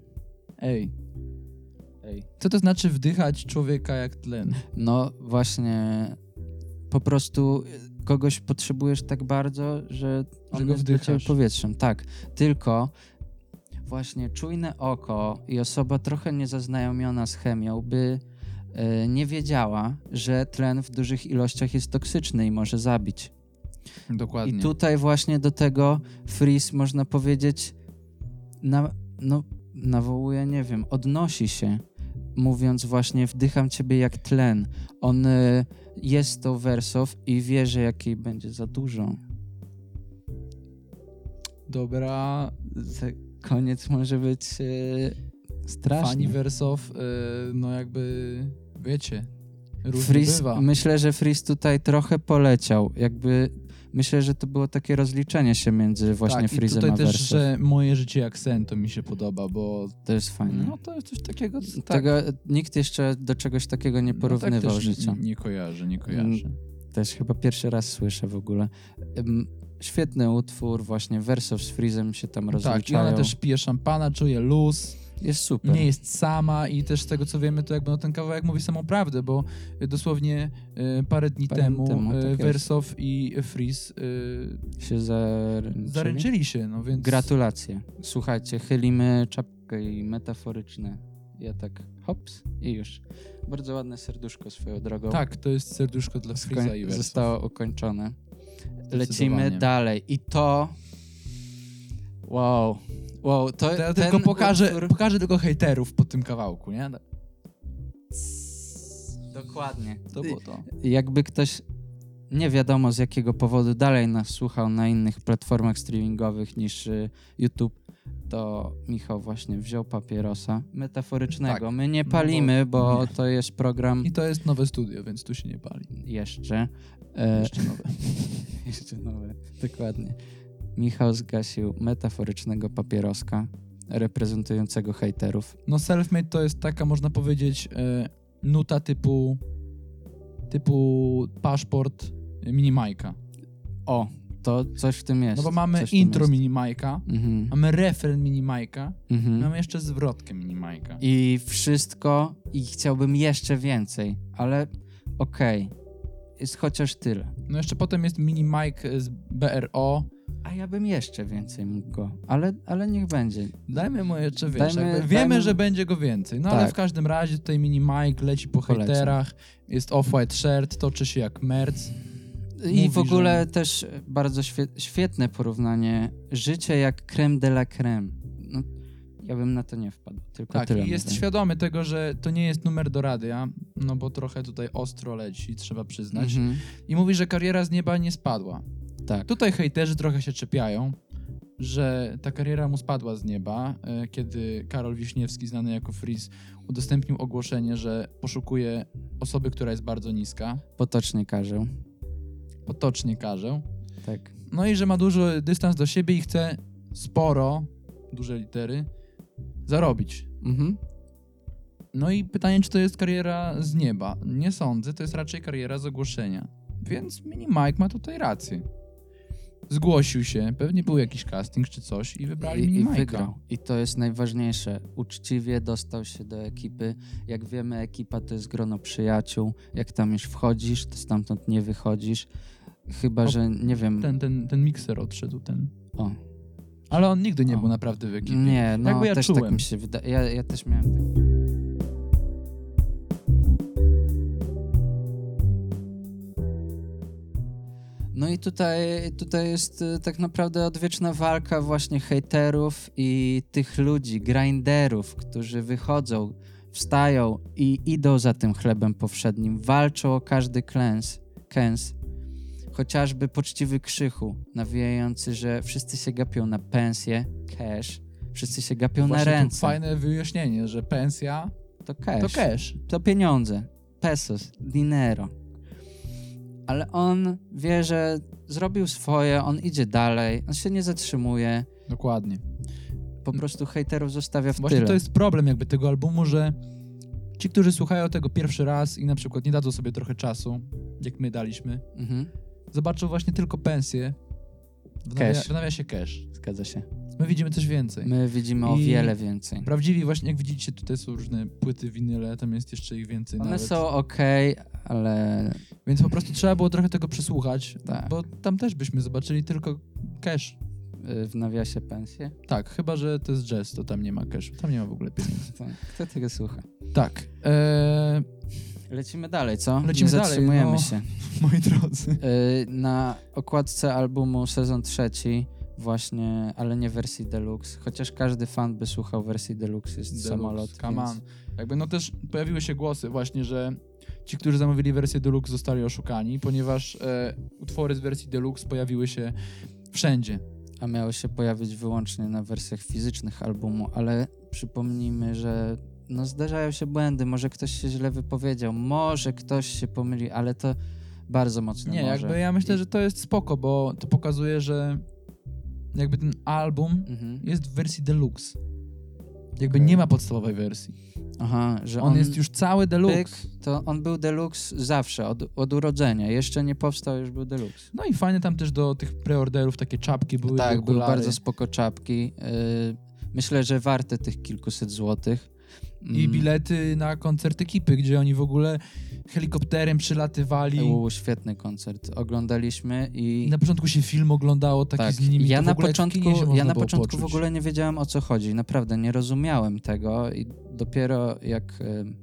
S2: Ej.
S1: Ej.
S2: Co to znaczy wdychać człowieka jak tlen?
S1: No właśnie, po prostu kogoś potrzebujesz tak bardzo, że on
S2: go
S1: jest dla ciebie
S2: wdychasz.
S1: powietrzem. Tak, tylko właśnie czujne oko i osoba trochę niezaznajomiona z chemią by e, nie wiedziała, że tlen w dużych ilościach jest toksyczny i może zabić.
S2: Dokładnie.
S1: I tutaj właśnie do tego Freeze można powiedzieć, na, no, nawołuje, nie wiem, odnosi się, mówiąc właśnie wdycham ciebie jak tlen. On y, jest to wersow i wie, że jakiej będzie za dużo.
S2: Dobra,
S1: Te- Koniec może być y,
S2: Fani
S1: straszny.
S2: Wersow, y, no jakby, wiecie, różnie
S1: Freeze,
S2: bywa.
S1: myślę, że Freeze tutaj trochę poleciał. Jakby myślę, że to było takie rozliczenie się między właśnie
S2: tak, i
S1: Freezem
S2: tutaj
S1: a
S2: też,
S1: Wersow.
S2: że moje życie jak sen, to mi się podoba, bo
S1: To jest fajne.
S2: no to jest coś takiego, co- tak.
S1: Tego, nikt jeszcze do czegoś takiego nie
S2: no
S1: porównywał
S2: tak też
S1: życia. Mm,
S2: Nie, nie kojarzę, nie kojarzę.
S1: Też chyba pierwszy raz słyszę w ogóle. Ym, świetny utwór, właśnie Wersow z Freezem się tam
S2: tak, i
S1: rozliczają. Tak.
S2: ona też pije szampana, czuje luz,
S1: Jest super.
S2: nie jest sama i też z tego co wiemy, to jakby no, ten kawałek mówi samą prawdę, bo y, dosłownie y, parę dni
S1: Parę dni
S2: temu,
S1: temu, tak
S2: y,
S1: jest.
S2: Wersow i Freeze y,
S1: Się zaręczyli.
S2: zaręczyli się, no więc...
S1: Gratulacje. Słuchajcie, chylimy czapkę i metaforyczne. Ja tak hops i już. Bardzo ładne serduszko swoją drogą.
S2: Tak, to jest serduszko dla
S1: Skoń-
S2: Freeza i Wersow.
S1: zostało ukończone. Lecimy
S2: Zdecydowanie.
S1: dalej. I to... Wow. Wow, to
S2: To ja
S1: ten
S2: tylko pokażę,
S1: utwór-
S2: pokażę tylko hejterów po tym kawałku, nie? No,
S1: Dokładnie.
S2: To było to.
S1: Jakby ktoś nie wiadomo z jakiego powodu dalej nas słuchał na innych platformach streamingowych niż y, YouTube, to Michał właśnie wziął papierosa metaforycznego.
S2: Tak.
S1: My nie
S2: No bo-
S1: palimy, bo
S2: nie.
S1: to jest program
S2: I to jest nowe studio, więc tu się nie pali.
S1: jeszcze. E,
S2: Jeszcze nowe.
S1: [laughs] jeszcze nowe. Dokładnie. Michał zgasił metaforycznego papieroska reprezentującego hejterów.
S2: No Selfmade to jest taka, można powiedzieć, e, nuta typu typu paszport minimajka.
S1: O, to coś w tym jest.
S2: No bo mamy
S1: coś w tym
S2: intro
S1: jest.
S2: minimajka,
S1: Mhm.
S2: mamy refren minimajka,
S1: Mhm.
S2: mamy jeszcze zwrotkę minimajka.
S1: i wszystko i chciałbym jeszcze więcej, ale okej, jest chociaż tyle.
S2: No jeszcze potem jest minimajk z BRO.
S1: A ja bym jeszcze więcej mógł go, ale, ale niech będzie.
S2: Dajmy mu jeszcze, wiesz,
S1: Dajmy-
S2: jakby, wiemy,
S1: dajmy-
S2: że będzie go więcej, no ale
S1: Tak.
S2: w każdym razie tutaj mini Mike leci po
S1: Polecam.
S2: hejterach, jest off-white shirt, toczy się jak merc.
S1: I
S2: Mówi,
S1: w ogóle też bardzo świe- świetne porównanie. Życie jak creme de la creme. No, ja bym na to nie wpadł, tylko
S2: Tak,
S1: tyle.
S2: i jest
S1: mówię.
S2: świadomy tego, że to nie jest numer do radia, no bo trochę tutaj ostro leci, trzeba przyznać.
S1: Mhm.
S2: I mówi, że kariera z nieba nie spadła.
S1: Tak.
S2: Tutaj hejterzy trochę się czepiają, że ta kariera mu spadła z nieba, e, kiedy Karol Wiśniewski, znany jako Freeze, udostępnił ogłoszenie, że poszukuje osoby, która jest bardzo niska,
S1: Potocznie każę.
S2: potocznie karzę,
S1: Tak.
S2: No i że ma duży dystans do siebie i chce sporo, duże litery, zarobić.
S1: Mhm.
S2: No i pytanie, czy to jest kariera z nieba? Nie sądzę, to jest raczej kariera z ogłoszenia. Więc mini Mike ma tutaj rację. Zgłosił się, pewnie był jakiś casting czy coś i wybrali
S1: I,
S2: mini
S1: i
S2: Mike'a.
S1: wygrał. I to jest najważniejsze. Uczciwie dostał się do ekipy. Jak wiemy, ekipa to jest grono przyjaciół. Jak tam już wchodzisz, to stamtąd nie wychodzisz. Chyba,
S2: O,
S1: że nie wiem.
S2: Ten, ten, ten mikser odszedł, ten.
S1: O,
S2: Ale on nigdy nie
S1: O.
S2: był naprawdę w ekipie.
S1: nie, no
S2: bo ja
S1: też tak
S2: czułem.
S1: mi się wydaje. Ja, ja też miałem tak. No i tutaj, tutaj jest y, tak naprawdę odwieczna walka właśnie hejterów i tych ludzi, grinderów, którzy wychodzą wstają i idą za tym chlebem powszednim, walczą o każdy klęs, kęs, chociażby poczciwy krzychu, nawijający, że wszyscy się gapią na pensję, cash, wszyscy się gapią na
S2: Właśnie
S1: ręce,
S2: tu fajne wyjaśnienie, że pensja
S1: to cash
S2: to cash.
S1: to pieniądze, pesos, dinero. Ale on wie, że zrobił swoje, on idzie dalej, on się nie zatrzymuje,
S2: Dokładnie.
S1: po prostu hejterów zostawia w
S2: Mm. Właśnie
S1: tyle.
S2: to jest problem jakby tego albumu, że ci, którzy słuchają tego pierwszy raz i na przykład nie dadzą sobie trochę czasu, jak my daliśmy,
S1: Mhm,
S2: zobaczą właśnie tylko pensję w,
S1: Cash.
S2: nawia- w nawiasie cash.
S1: zgadza się.
S2: My widzimy coś więcej.
S1: My widzimy o
S2: I-
S1: wiele więcej.
S2: Prawdziwi właśnie, jak widzicie, tutaj są różne płyty, winyle, tam jest jeszcze ich więcej
S1: One
S2: nawet.
S1: są okej, ale
S2: Więc po prostu trzeba było trochę tego przesłuchać,
S1: Tak.
S2: bo tam też byśmy zobaczyli tylko cash.
S1: y, w nawiasie pensje.
S2: Tak, chyba, że to jest jazz, to tam nie ma cashu, tam nie ma w ogóle pieniędzy.
S1: To, kto tego słucha?
S2: Tak, eee,
S1: Lecimy dalej, co?
S2: Lecimy
S1: nie
S2: dalej,
S1: zatrzymujemy
S2: no.
S1: się.
S2: [laughs] moi drodzy.
S1: Y, Na okładce albumu sezon trzeci, właśnie, ale nie wersji deluxe. Chociaż każdy fan by słuchał wersji deluxe, jest
S2: Deluxe,
S1: samolot.
S2: Come
S1: więc...
S2: on. Jakby no też pojawiły się głosy właśnie, że ci, którzy zamówili wersję deluxe zostali oszukani, ponieważ e, utwory z wersji deluxe pojawiły się wszędzie.
S1: A miało się pojawić wyłącznie na wersjach fizycznych albumu, ale przypomnijmy, że no zdarzają się błędy, może ktoś się źle wypowiedział, może ktoś się pomyli, ale to bardzo mocno
S2: Nie,
S1: może.
S2: jakby ja myślę, że to jest spoko, bo to pokazuje, że jakby ten album
S1: Mhm.
S2: jest w wersji deluxe. Jakby
S1: Okej.
S2: nie ma podstawowej wersji.
S1: Aha, że
S2: On, jest już cały deluxe.
S1: Pyk, to on był deluxe zawsze, od, od urodzenia. Jeszcze nie powstał, już był deluxe.
S2: No i fajne tam też do tych preorderów takie czapki były.
S1: tak,
S2: były
S1: były bardzo spoko czapki. Yy, myślę, że warte tych kilkuset złotych. Mm.
S2: I bilety na koncerty Kipy, gdzie oni w ogóle helikopterem przylatywali.
S1: Mm, Był świetny koncert. Oglądaliśmy i...
S2: I na początku się film oglądało taki
S1: tak,
S2: z nimi.
S1: ja
S2: to w
S1: na
S2: ogóle jak w
S1: początku,
S2: kinie się można
S1: ja na
S2: było
S1: początku w
S2: poczuć.
S1: ogóle nie wiedziałem o co chodzi. Naprawdę nie rozumiałem tego i dopiero jak em,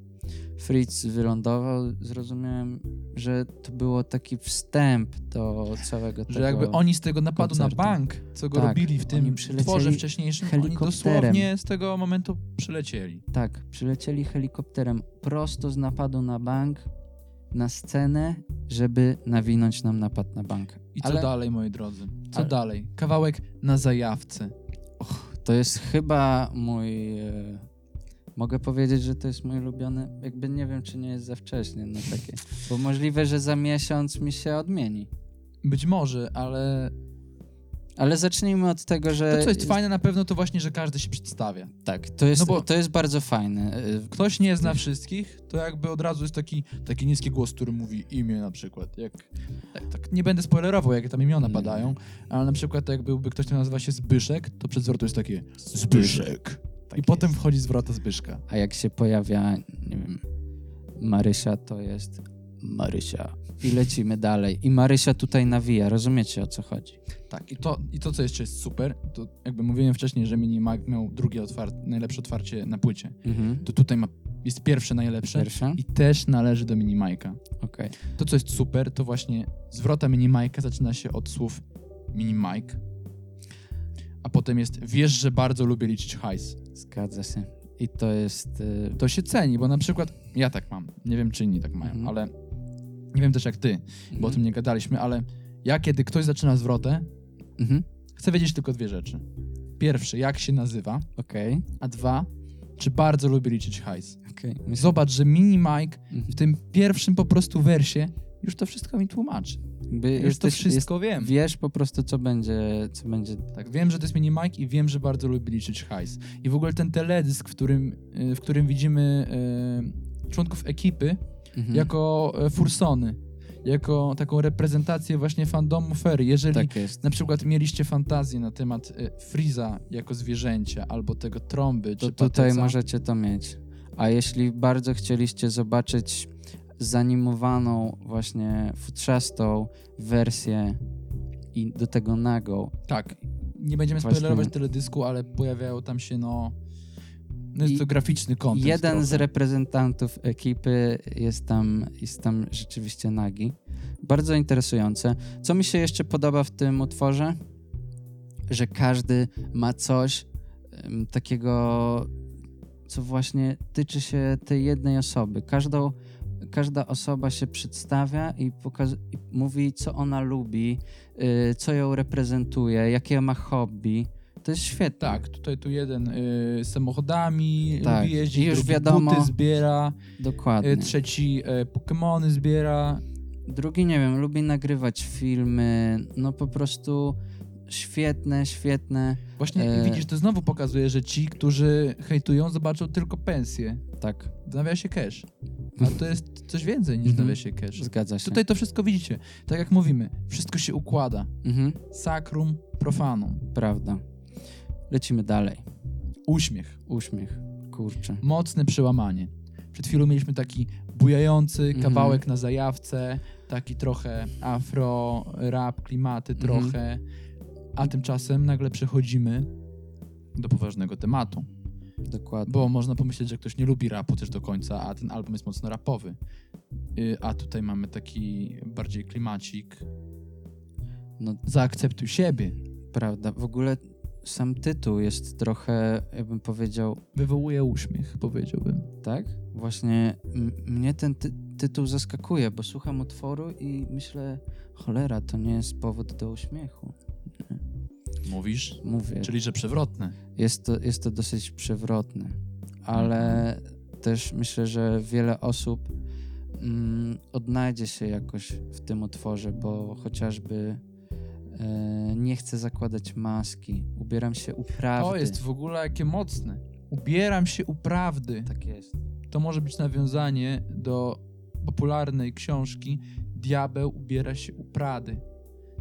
S1: Fritz wylądował, zrozumiałem, że to było taki wstęp do całego tego.
S2: Że jakby oni z tego napadu
S1: koncertu.
S2: na bank, co go
S1: Tak,
S2: robili w
S1: oni
S2: tym
S1: przylecieli
S2: tworze wcześniejszym, oni
S1: helikopterem.
S2: dosłownie z tego momentu przylecieli.
S1: Tak, przylecieli helikopterem prosto z napadu na bank na scenę, żeby nawinąć nam napad na bank.
S2: I co
S1: Ale
S2: dalej, moi drodzy? Co
S1: Ale-
S2: dalej? Kawałek na zajawce.
S1: To jest chyba mój. E, mogę powiedzieć, że to jest mój ulubiony. Jakby nie wiem, czy nie jest za wcześnie na takie. Bo możliwe, że za miesiąc mi się odmieni.
S2: Być może, ale
S1: Ale zacznijmy od tego, że.
S2: to, co jest fajne na pewno, to właśnie, że każdy się przedstawia.
S1: Tak, to jest,
S2: No bo-
S1: to jest bardzo fajne. E,
S2: Ktoś nie zna wszystkich, to jakby od razu jest taki, taki niski głos, który mówi imię na przykład. Jak, tak, tak, nie będę spoilerował, jakie tam imiona
S1: Nie.
S2: padają, ale na przykład jak byłby ktoś, kto nazywa się Zbyszek, to przed zwrotu jest takie Zbyszek. Tak I potem wchodzi zwrota Zbyszka.
S1: A jak się pojawia, nie wiem, Marysia, to jest Marysia. I lecimy dalej. I Marysia tutaj nawija, rozumiecie o co chodzi?
S2: Tak, i to, i to co jeszcze jest super, to jakby mówiłem wcześniej, że Mini Mac miał drugie otwar- najlepsze otwarcie na płycie.
S1: Mhm.
S2: To tutaj ma, jest pierwsze najlepsze
S1: Pierwsza?
S2: i też należy do Mini Majka.
S1: Okej.
S2: To, co jest super, to właśnie zwrota mini Mike'a zaczyna się od słów mini Mike, a potem jest wiesz, że bardzo lubię liczyć hajs.
S1: Zgadza się. I to jest... Y...
S2: To się ceni, bo na przykład ja tak mam. Nie wiem, czy inni tak mają,
S1: Mhm.
S2: ale nie wiem też jak ty, bo o tym nie gadaliśmy, ale ja kiedy ktoś zaczyna zwrotę,
S1: Mhm.
S2: chcę wiedzieć tylko dwie rzeczy. Pierwszy, jak się nazywa,
S1: Okej.
S2: a dwa, czy bardzo lubię liczyć hajs.
S1: Okej. Myślę-
S2: Zobacz, że mini Mike
S1: Mhm.
S2: w tym pierwszym po prostu wersie już to wszystko mi tłumaczy.
S1: Jakby
S2: Już to
S1: jesteś-
S2: wszystko wiem.
S1: Wiesz po prostu, co będzie, co będzie.
S2: Tak, wiem, że to jest mini Mike i wiem, że bardzo lubi liczyć hajs. I w ogóle ten teledysk, w którym, y, w którym widzimy y, członków ekipy
S1: Mhm.
S2: jako y, fursony, jako taką reprezentację właśnie fandomu Ferry. Jeżeli
S1: tak jest.
S2: na przykład mieliście fantazję na temat y, Freeza jako zwierzęcia, albo tego trąby,
S1: To
S2: czy
S1: tutaj
S2: patyca,
S1: możecie to mieć. A jeśli bardzo chcieliście zobaczyć zanimowaną, właśnie futrzastą wersję i do tego nagą,
S2: Tak, nie będziemy
S1: Właśnie.
S2: spoilerować teledysku, ale pojawiają tam się no... No
S1: I-
S2: jest to graficzny kontekst.
S1: jeden
S2: trochę.
S1: z reprezentantów ekipy jest tam, jest tam rzeczywiście nagi. Bardzo interesujące. Co mi się jeszcze podoba w tym utworze? Że każdy ma coś em, takiego co właśnie tyczy się tej jednej osoby. Każdą, każda osoba się przedstawia i, pokaz- i mówi, co ona lubi, y, co ją reprezentuje, jakie ma hobby. To jest świetne.
S2: Tak, tutaj tu jeden y, samochodami
S1: Tak,
S2: lubi jeździć,
S1: i już
S2: drugi
S1: wiadomo.
S2: buty zbiera,
S1: Dokładnie.
S2: y, trzeci y, Pokemony zbiera.
S1: Drugi, nie wiem, lubi nagrywać filmy, no po prostu świetne, świetne.
S2: Właśnie
S1: E.
S2: widzisz, to znowu pokazuje, że ci, którzy hejtują, zobaczą tylko pensję
S1: Tak,
S2: w nawiasie cash. A to jest coś więcej niż w
S1: Mhm.
S2: nawiasie cash.
S1: zgadza się.
S2: Tutaj to wszystko widzicie. Tak jak mówimy, wszystko się układa.
S1: Mhm,
S2: Sakrum profanum.
S1: prawda. Lecimy dalej.
S2: Uśmiech.
S1: Uśmiech, kurczę.
S2: mocne przełamanie. Przed chwilą mieliśmy taki bujający
S1: Mhm.
S2: kawałek na zajawce, taki trochę afro, rap, klimaty
S1: Mhm.
S2: trochę, a tymczasem nagle przechodzimy do poważnego tematu,
S1: Dokładnie.
S2: bo można pomyśleć, że ktoś nie lubi rapu też do końca, a ten album jest mocno rapowy. Y, A tutaj mamy taki bardziej klimacik.
S1: No.
S2: Zaakceptuj siebie.
S1: Prawda. W ogóle sam tytuł jest trochę, jakbym powiedział,
S2: Wywołuje uśmiech, powiedziałbym.
S1: tak? Właśnie m- mnie ten ty- tytuł zaskakuje, bo słucham utworu i myślę, cholera, to nie jest powód do uśmiechu.
S2: Mówisz?
S1: Mówię,
S2: Czyli, że przewrotne.
S1: jest to, jest to dosyć przewrotne, ale też myślę, że wiele osób mm, odnajdzie się jakoś w tym utworze, bo chociażby e, nie chcę zakładać maski, ubieram się u prawdy.
S2: To jest w ogóle jakie mocne. Ubieram się u prawdy.
S1: Tak jest.
S2: To może być nawiązanie do popularnej książki Diabeł ubiera się u Prady.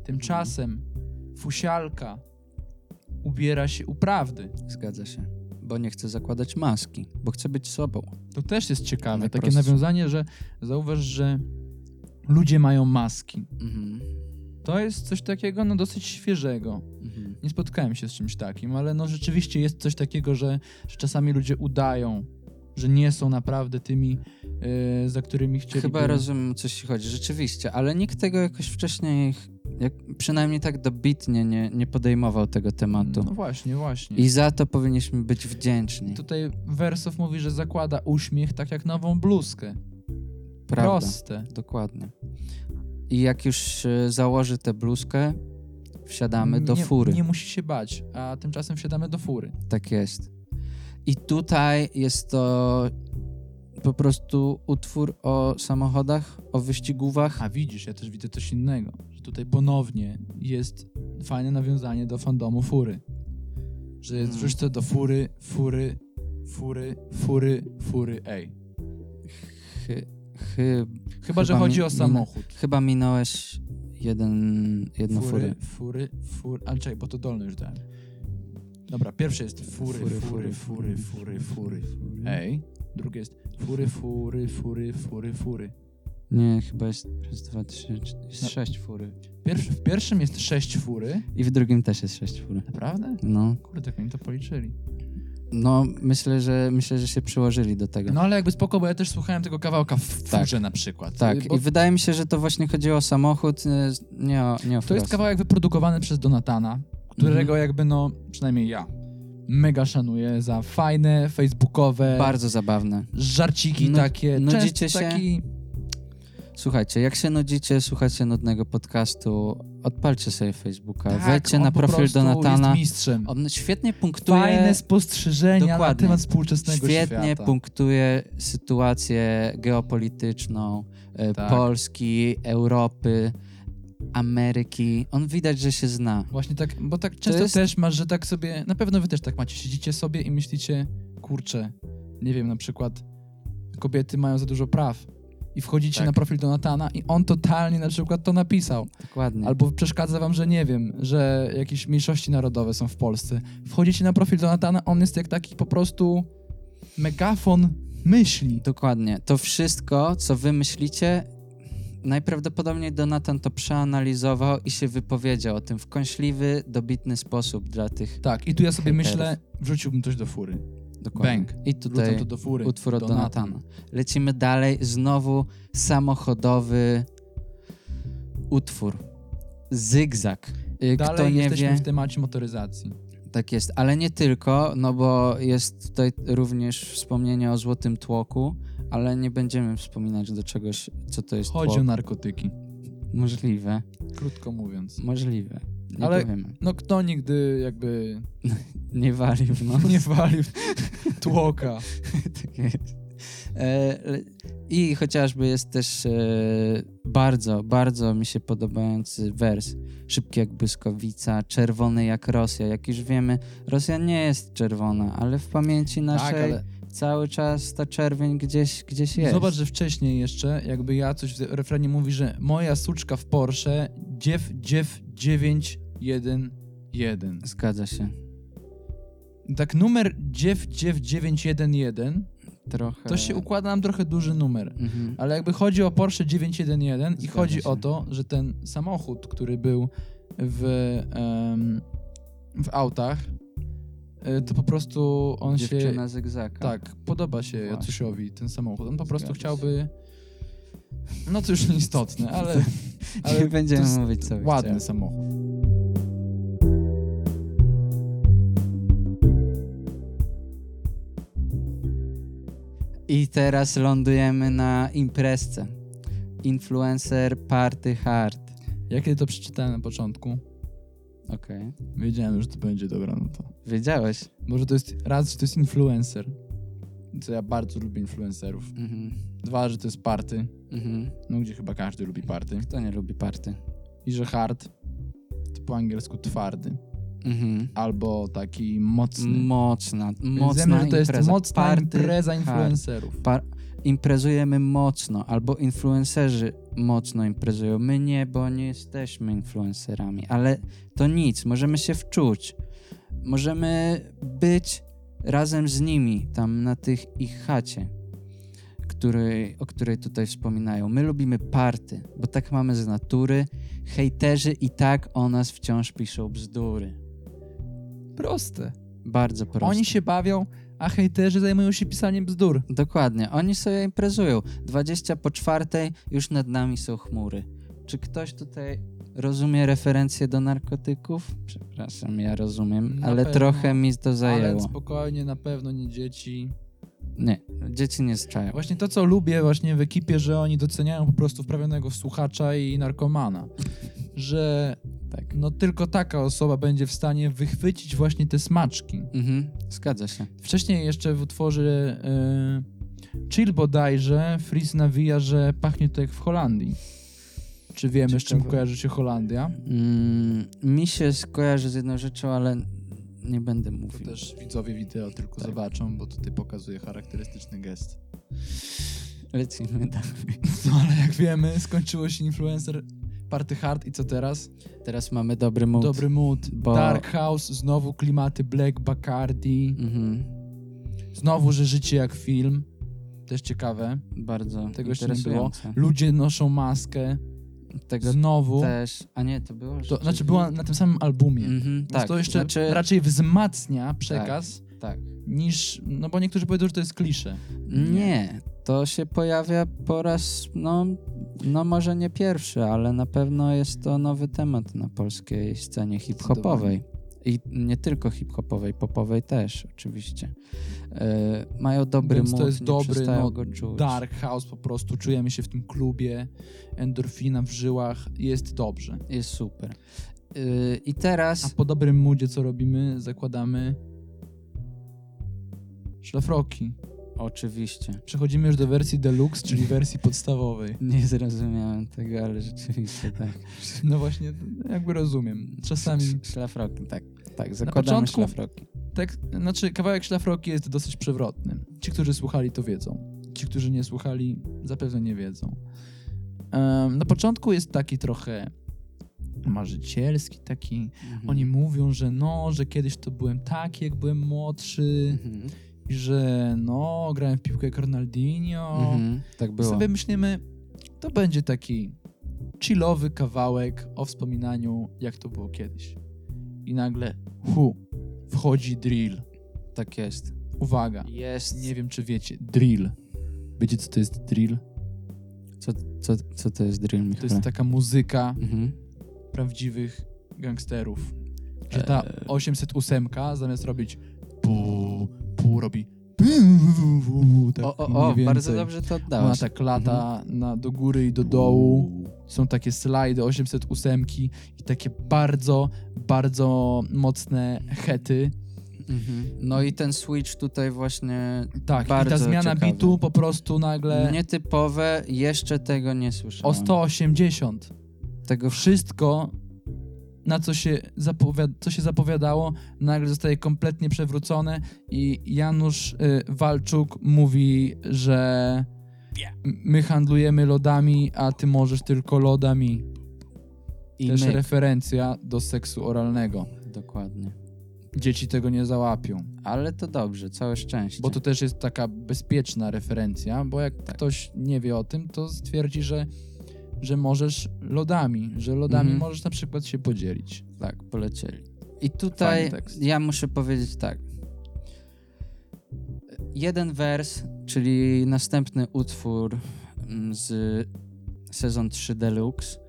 S2: Tymczasem Fusialka ubiera się u prawdy.
S1: Zgadza się. Bo nie chcę zakładać maski, bo chcę być sobą.
S2: To też jest ciekawe.
S1: No,
S2: Takie
S1: proste.
S2: nawiązanie, że zauważ, że ludzie mają maski.
S1: Mhm.
S2: To jest coś takiego no dosyć świeżego.
S1: Mhm.
S2: Nie spotkałem się z czymś takim, ale no rzeczywiście jest coś takiego, że, że czasami ludzie udają, że nie są naprawdę tymi, e, za którymi chcieliby.
S1: Chyba rozumiem, o co ci chodzi, rzeczywiście, ale nikt tego jakoś wcześniej, jak, przynajmniej tak dobitnie nie, nie podejmował tego tematu.
S2: No właśnie, właśnie.
S1: I za to powinniśmy być wdzięczni.
S2: Tutaj Wersow mówi, że zakłada uśmiech tak jak nową bluzkę.
S1: Prawda.
S2: Proste.
S1: Dokładnie. I jak już e, założy tę bluzkę, wsiadamy do
S2: nie,
S1: fury.
S2: Nie musi się bać, a tymczasem wsiadamy do fury.
S1: Tak jest. I tutaj jest to po prostu utwór o samochodach, o wyścigówach.
S2: A widzisz, ja też widzę coś innego, że tutaj ponownie jest fajne nawiązanie do fandomu fury. Że jest
S1: Mhm.
S2: wrzuć to do fury, fury, fury, fury, fury, ej.
S1: Chy, chy,
S2: Chyba, że
S1: Chyba
S2: chodzi
S1: mi-
S2: o
S1: mi-
S2: samochód.
S1: chyba minąłeś jeden, jedną furę.
S2: Fury, fury, fury, ale czekaj, bo to dolny już dałem. Dobra, pierwsze jest fury,
S1: Fury,
S2: fury, fury, fury, fury, fury. Ej. Drugie jest fury, fury, fury, fury, fury.
S1: Nie, chyba jest raz, dwa, trzy, cztery, jest
S2: No.
S1: sześć fury.
S2: Pierwszy, w pierwszym jest sześć fury.
S1: I w drugim też jest sześć fury.
S2: Naprawdę?
S1: No,
S2: Kurde, jak oni to policzyli.
S1: no myślę, że myślę, że się przyłożyli do tego.
S2: No ale jakby spoko, bo ja też słuchałem tego kawałka w furze na przykład.
S1: Tak,
S2: Y, bo
S1: i wydaje mi się, że to właśnie chodziło o samochód, y, nie o, nie o
S2: To jest
S1: Frosta.
S2: kawałek wyprodukowany przez Donatana, którego
S1: Mhm.
S2: jakby no, przynajmniej ja, mega szanuję za fajne, facebookowe,
S1: Bardzo zabawne.
S2: żarciki
S1: Nu-
S2: takie.
S1: nudzicie
S2: często
S1: się? Tak,
S2: Taki,
S1: Słuchajcie, jak się nudzicie, słuchacie nudnego podcastu, odpalcie sobie Facebooka,
S2: tak,
S1: wejdźcie
S2: on
S1: na
S2: po
S1: profil
S2: prostu
S1: Donatana.
S2: Jest mistrzem.
S1: On świetnie punktuje,
S2: Fajne spostrzeżenia na
S1: Dokładnie.
S2: temat współczesnego świata.
S1: świetnie punktuje sytuację geopolityczną y,
S2: Tak.
S1: Polski, Europy, Ameryki. On widać, że się zna.
S2: Właśnie tak, bo tak często
S1: jest-
S2: też masz, że tak sobie, na pewno wy też tak macie, siedzicie sobie i myślicie, kurczę, nie wiem, na przykład kobiety mają za dużo praw i wchodzicie
S1: Tak.
S2: na profil Donatana i on totalnie na przykład to napisał.
S1: Dokładnie.
S2: Albo przeszkadza wam, że nie wiem, że jakieś mniejszości narodowe są w Polsce. Wchodzicie na profil Donatana, on jest jak taki po prostu megafon myśli.
S1: Dokładnie. To wszystko, co wy myślicie, najprawdopodobniej Donatan to przeanalizował i się wypowiedział o tym w kąśliwy, dobitny sposób dla tych.
S2: Tak, i tu ja sobie
S1: Hejterów.
S2: myślę, wrzuciłbym coś do fury.
S1: Dokładnie.
S2: Bęk.
S1: I
S2: Wrzucam
S1: tutaj
S2: to do fury.
S1: utwór od
S2: Donatan.
S1: Donatana. Lecimy dalej. Znowu samochodowy utwór. Zygzak. Y,
S2: Dalej
S1: Kto nie
S2: jesteśmy
S1: wie,
S2: w temacie motoryzacji.
S1: Tak jest, ale nie tylko, no bo jest tutaj również wspomnienie o złotym tłoku, ale nie będziemy wspominać do czegoś, co to jest
S2: Chodzi o
S1: tłok.
S2: narkotyki,
S1: Możliwe,
S2: krótko mówiąc.
S1: możliwe. Nie
S2: Ale-
S1: powiemy.
S2: No kto nigdy jakby
S1: Nie walił, no.
S2: nie walił tłoka.
S1: Tak jest. E, le- I chociażby jest też e, bardzo, bardzo mi się podobający wers. Szybki jak błyskowica, czerwony jak Rosja. Jak już wiemy, Rosja nie jest czerwona, ale w pamięci [laughs] naszej
S2: Tak, ale
S1: cały czas ta czerwień gdzieś, gdzieś jest.
S2: Zobacz, że wcześniej jeszcze, jakby ja coś w refrenie mówi, że moja suczka w Porsche dziew dziew 911.
S1: Zgadza się.
S2: Tak numer dziew dziew 911
S1: Trochę.
S2: to się układa nam trochę duży numer.
S1: Mhm.
S2: Ale jakby chodzi o Porsche 911 i
S1: Zgadza
S2: chodzi
S1: się.
S2: o to, że ten samochód, który był w, em, w autach, e, to po prostu on się
S1: Dziewczyna zygzaka.
S2: Tak, podoba się
S1: Właśnie.
S2: Jacusiowi ten samochód. On po prostu
S1: Zgadza się.
S2: chciałby. No to już nieistotne,
S1: [laughs]
S2: ale.
S1: [laughs]
S2: ale
S1: Nie będziemy
S2: to jest
S1: mówić, co by
S2: Ładny
S1: chciał.
S2: samochód.
S1: I teraz lądujemy na imprezce. Influencer Party Hard.
S2: Ja kiedy to przeczytałem na początku,
S1: Okej.
S2: wiedziałem, że to będzie dobra nota.
S1: Wiedziałeś.
S2: Może to jest raz, że to jest influencer. Co ja bardzo lubię influencerów.
S1: Mhm.
S2: Dwa, że to jest party.
S1: Mhm.
S2: No gdzie chyba każdy lubi party.
S1: Kto nie lubi party?
S2: I że hard to po angielsku twardy.
S1: Mhm.
S2: Albo taki mocny.
S1: Mocna, mocna
S2: Wiemy, że to jest
S1: impreza.
S2: mocna
S1: Party
S2: impreza
S1: hard.
S2: influencerów.
S1: Par- imprezujemy mocno, albo influencerzy mocno imprezują. My nie, bo nie jesteśmy influencerami, ale to nic, możemy się wczuć. Możemy być razem z nimi tam na tych ich chacie, której, o której tutaj wspominają. My lubimy party, bo tak mamy z natury. Hejterzy i tak o nas wciąż piszą bzdury.
S2: Proste.
S1: Bardzo proste.
S2: Oni się bawią, a hejterzy zajmują się pisaniem bzdur.
S1: Dokładnie, oni sobie imprezują. 20 po czwartej już nad nami są chmury. Czy ktoś tutaj rozumie referencję do narkotyków? Przepraszam, ja rozumiem,
S2: Na
S1: ale
S2: pewno.
S1: trochę mi to
S2: Ale
S1: zajęło.
S2: spokojnie, na pewno nie dzieci.
S1: Nie, dzieci nie strzają.
S2: Właśnie to, co lubię właśnie w ekipie, że oni doceniają po prostu wprawionego słuchacza i narkomana. Że
S1: Tak.
S2: no tylko taka osoba będzie w stanie wychwycić właśnie te smaczki.
S1: Mhm, zgadza się.
S2: Wcześniej jeszcze w utworze y, Chill bodajże Fritz nawija, że pachnie to jak w Holandii. Czy wiemy, z czym
S1: Ciekawe.
S2: kojarzy się Holandia?
S1: Mm, mi się skojarzy z jedną rzeczą, ale nie będę mówił.
S2: też widzowie wideo tylko
S1: Tak.
S2: zobaczą, bo tutaj pokazuje charakterystyczny gest.
S1: [laughs] Lecimy dalej.
S2: No ale jak wiemy, skończyło się influencer Party Hard i co teraz?
S1: Teraz mamy dobry mood.
S2: Dobry mood,
S1: Bo-
S2: Dark House, znowu klimaty Black Bacardi,
S1: Mhm,
S2: znowu, że życie jak film, też ciekawe.
S1: bardzo
S2: Tego jeszcze nie było.
S1: interesujące.
S2: Ludzie noszą maskę,
S1: Tego
S2: znowu.
S1: też... A nie, to było?
S2: To, znaczy
S1: rzeczywiście?
S2: była na tym samym albumie.
S1: Mhm,
S2: Więc
S1: tak,
S2: to jeszcze
S1: znaczy,
S2: raczej wzmacnia przekaz
S1: tak.
S2: niż, no bo niektórzy powiedzą, że to jest klisze.
S1: Nie, to się pojawia po raz, no, no może nie pierwszy, ale na pewno jest to nowy temat na polskiej scenie hip-hopowej. I nie tylko hip-hopowej, popowej też oczywiście. E, mają dobry
S2: Więc to
S1: mood,
S2: jest
S1: nie
S2: dobry,
S1: przestają
S2: no,
S1: go czuć.
S2: Dark House po prostu, czujemy się w tym klubie, endorfina w żyłach, jest dobrze.
S1: Jest super. E, I teraz...
S2: A po dobrym moodzie co robimy? Zakładamy szlafroki.
S1: Oczywiście. [laughs]
S2: Przechodzimy już do wersji deluxe, czyli wersji podstawowej.
S1: Nie zrozumiałem tego, ale rzeczywiście
S2: [laughs]
S1: tak.
S2: No właśnie, jakby rozumiem. Czasami
S1: Szlafroki, tak. Tak, zakładamy
S2: początku-
S1: szlafroki.
S2: tak, znaczy kawałek szlafroki jest dosyć przewrotny. Ci, którzy słuchali, to wiedzą. Ci, którzy nie słuchali, zapewne nie wiedzą. Em, na początku jest taki trochę marzycielski, taki.
S1: Mhm.
S2: Oni mówią, że no, że kiedyś to byłem taki, jak byłem młodszy.
S1: Mhm.
S2: i że no, grałem w piłkę jak Ronaldinho.
S1: Mhm. Tak
S2: I
S1: było.
S2: sobie myślimy, to będzie taki chillowy kawałek o wspominaniu, jak to było kiedyś. I nagle, hu, wchodzi drill.
S1: Tak jest.
S2: Uwaga,
S1: Jest.
S2: nie wiem czy wiecie, drill. Wiecie co to jest drill?
S1: Co, co, co to jest drill, Michał?
S2: tak- To jest taka muzyka
S1: Mhm.
S2: prawdziwych gangsterów. Że ta
S1: Eee.
S2: 808 zamiast robić pu, pu robi pu, tak
S1: o, o,
S2: mniej
S1: o,
S2: więcej.
S1: bardzo dobrze to
S2: Ona
S1: oddałeś.
S2: tak lata
S1: Mhm.
S2: na, do góry i do dołu. Są takie slajdy 808 i takie bardzo, bardzo mocne hety.
S1: Mhm. No i ten switch tutaj właśnie
S2: Tak, i
S1: Bardzo
S2: ta zmiana
S1: ciekawe.
S2: bitu po prostu nagle
S1: nietypowe, jeszcze tego nie słyszałem.
S2: o 180.
S1: Tego wszy-
S2: Wszystko, na co się, zapowiada, co się zapowiadało, nagle zostaje kompletnie przewrócone i Janusz y, Walczuk mówi, że m- my handlujemy lodami, a ty możesz tylko lodami.
S1: i
S2: Też
S1: myk.
S2: referencja do seksu oralnego.
S1: Dokładnie.
S2: Dzieci tego nie załapią.
S1: Ale to dobrze, całe szczęście.
S2: Bo to też jest taka bezpieczna referencja, bo jak
S1: Tak.
S2: ktoś nie wie o tym, to stwierdzi, że, że możesz lodami, że lodami
S1: Mhm.
S2: możesz na przykład się podzielić.
S1: Tak, polecieli. I tutaj
S2: Fajny tekst.
S1: ja muszę powiedzieć tak. Jeden wers, czyli następny utwór mm, z sezon 3 Deluxe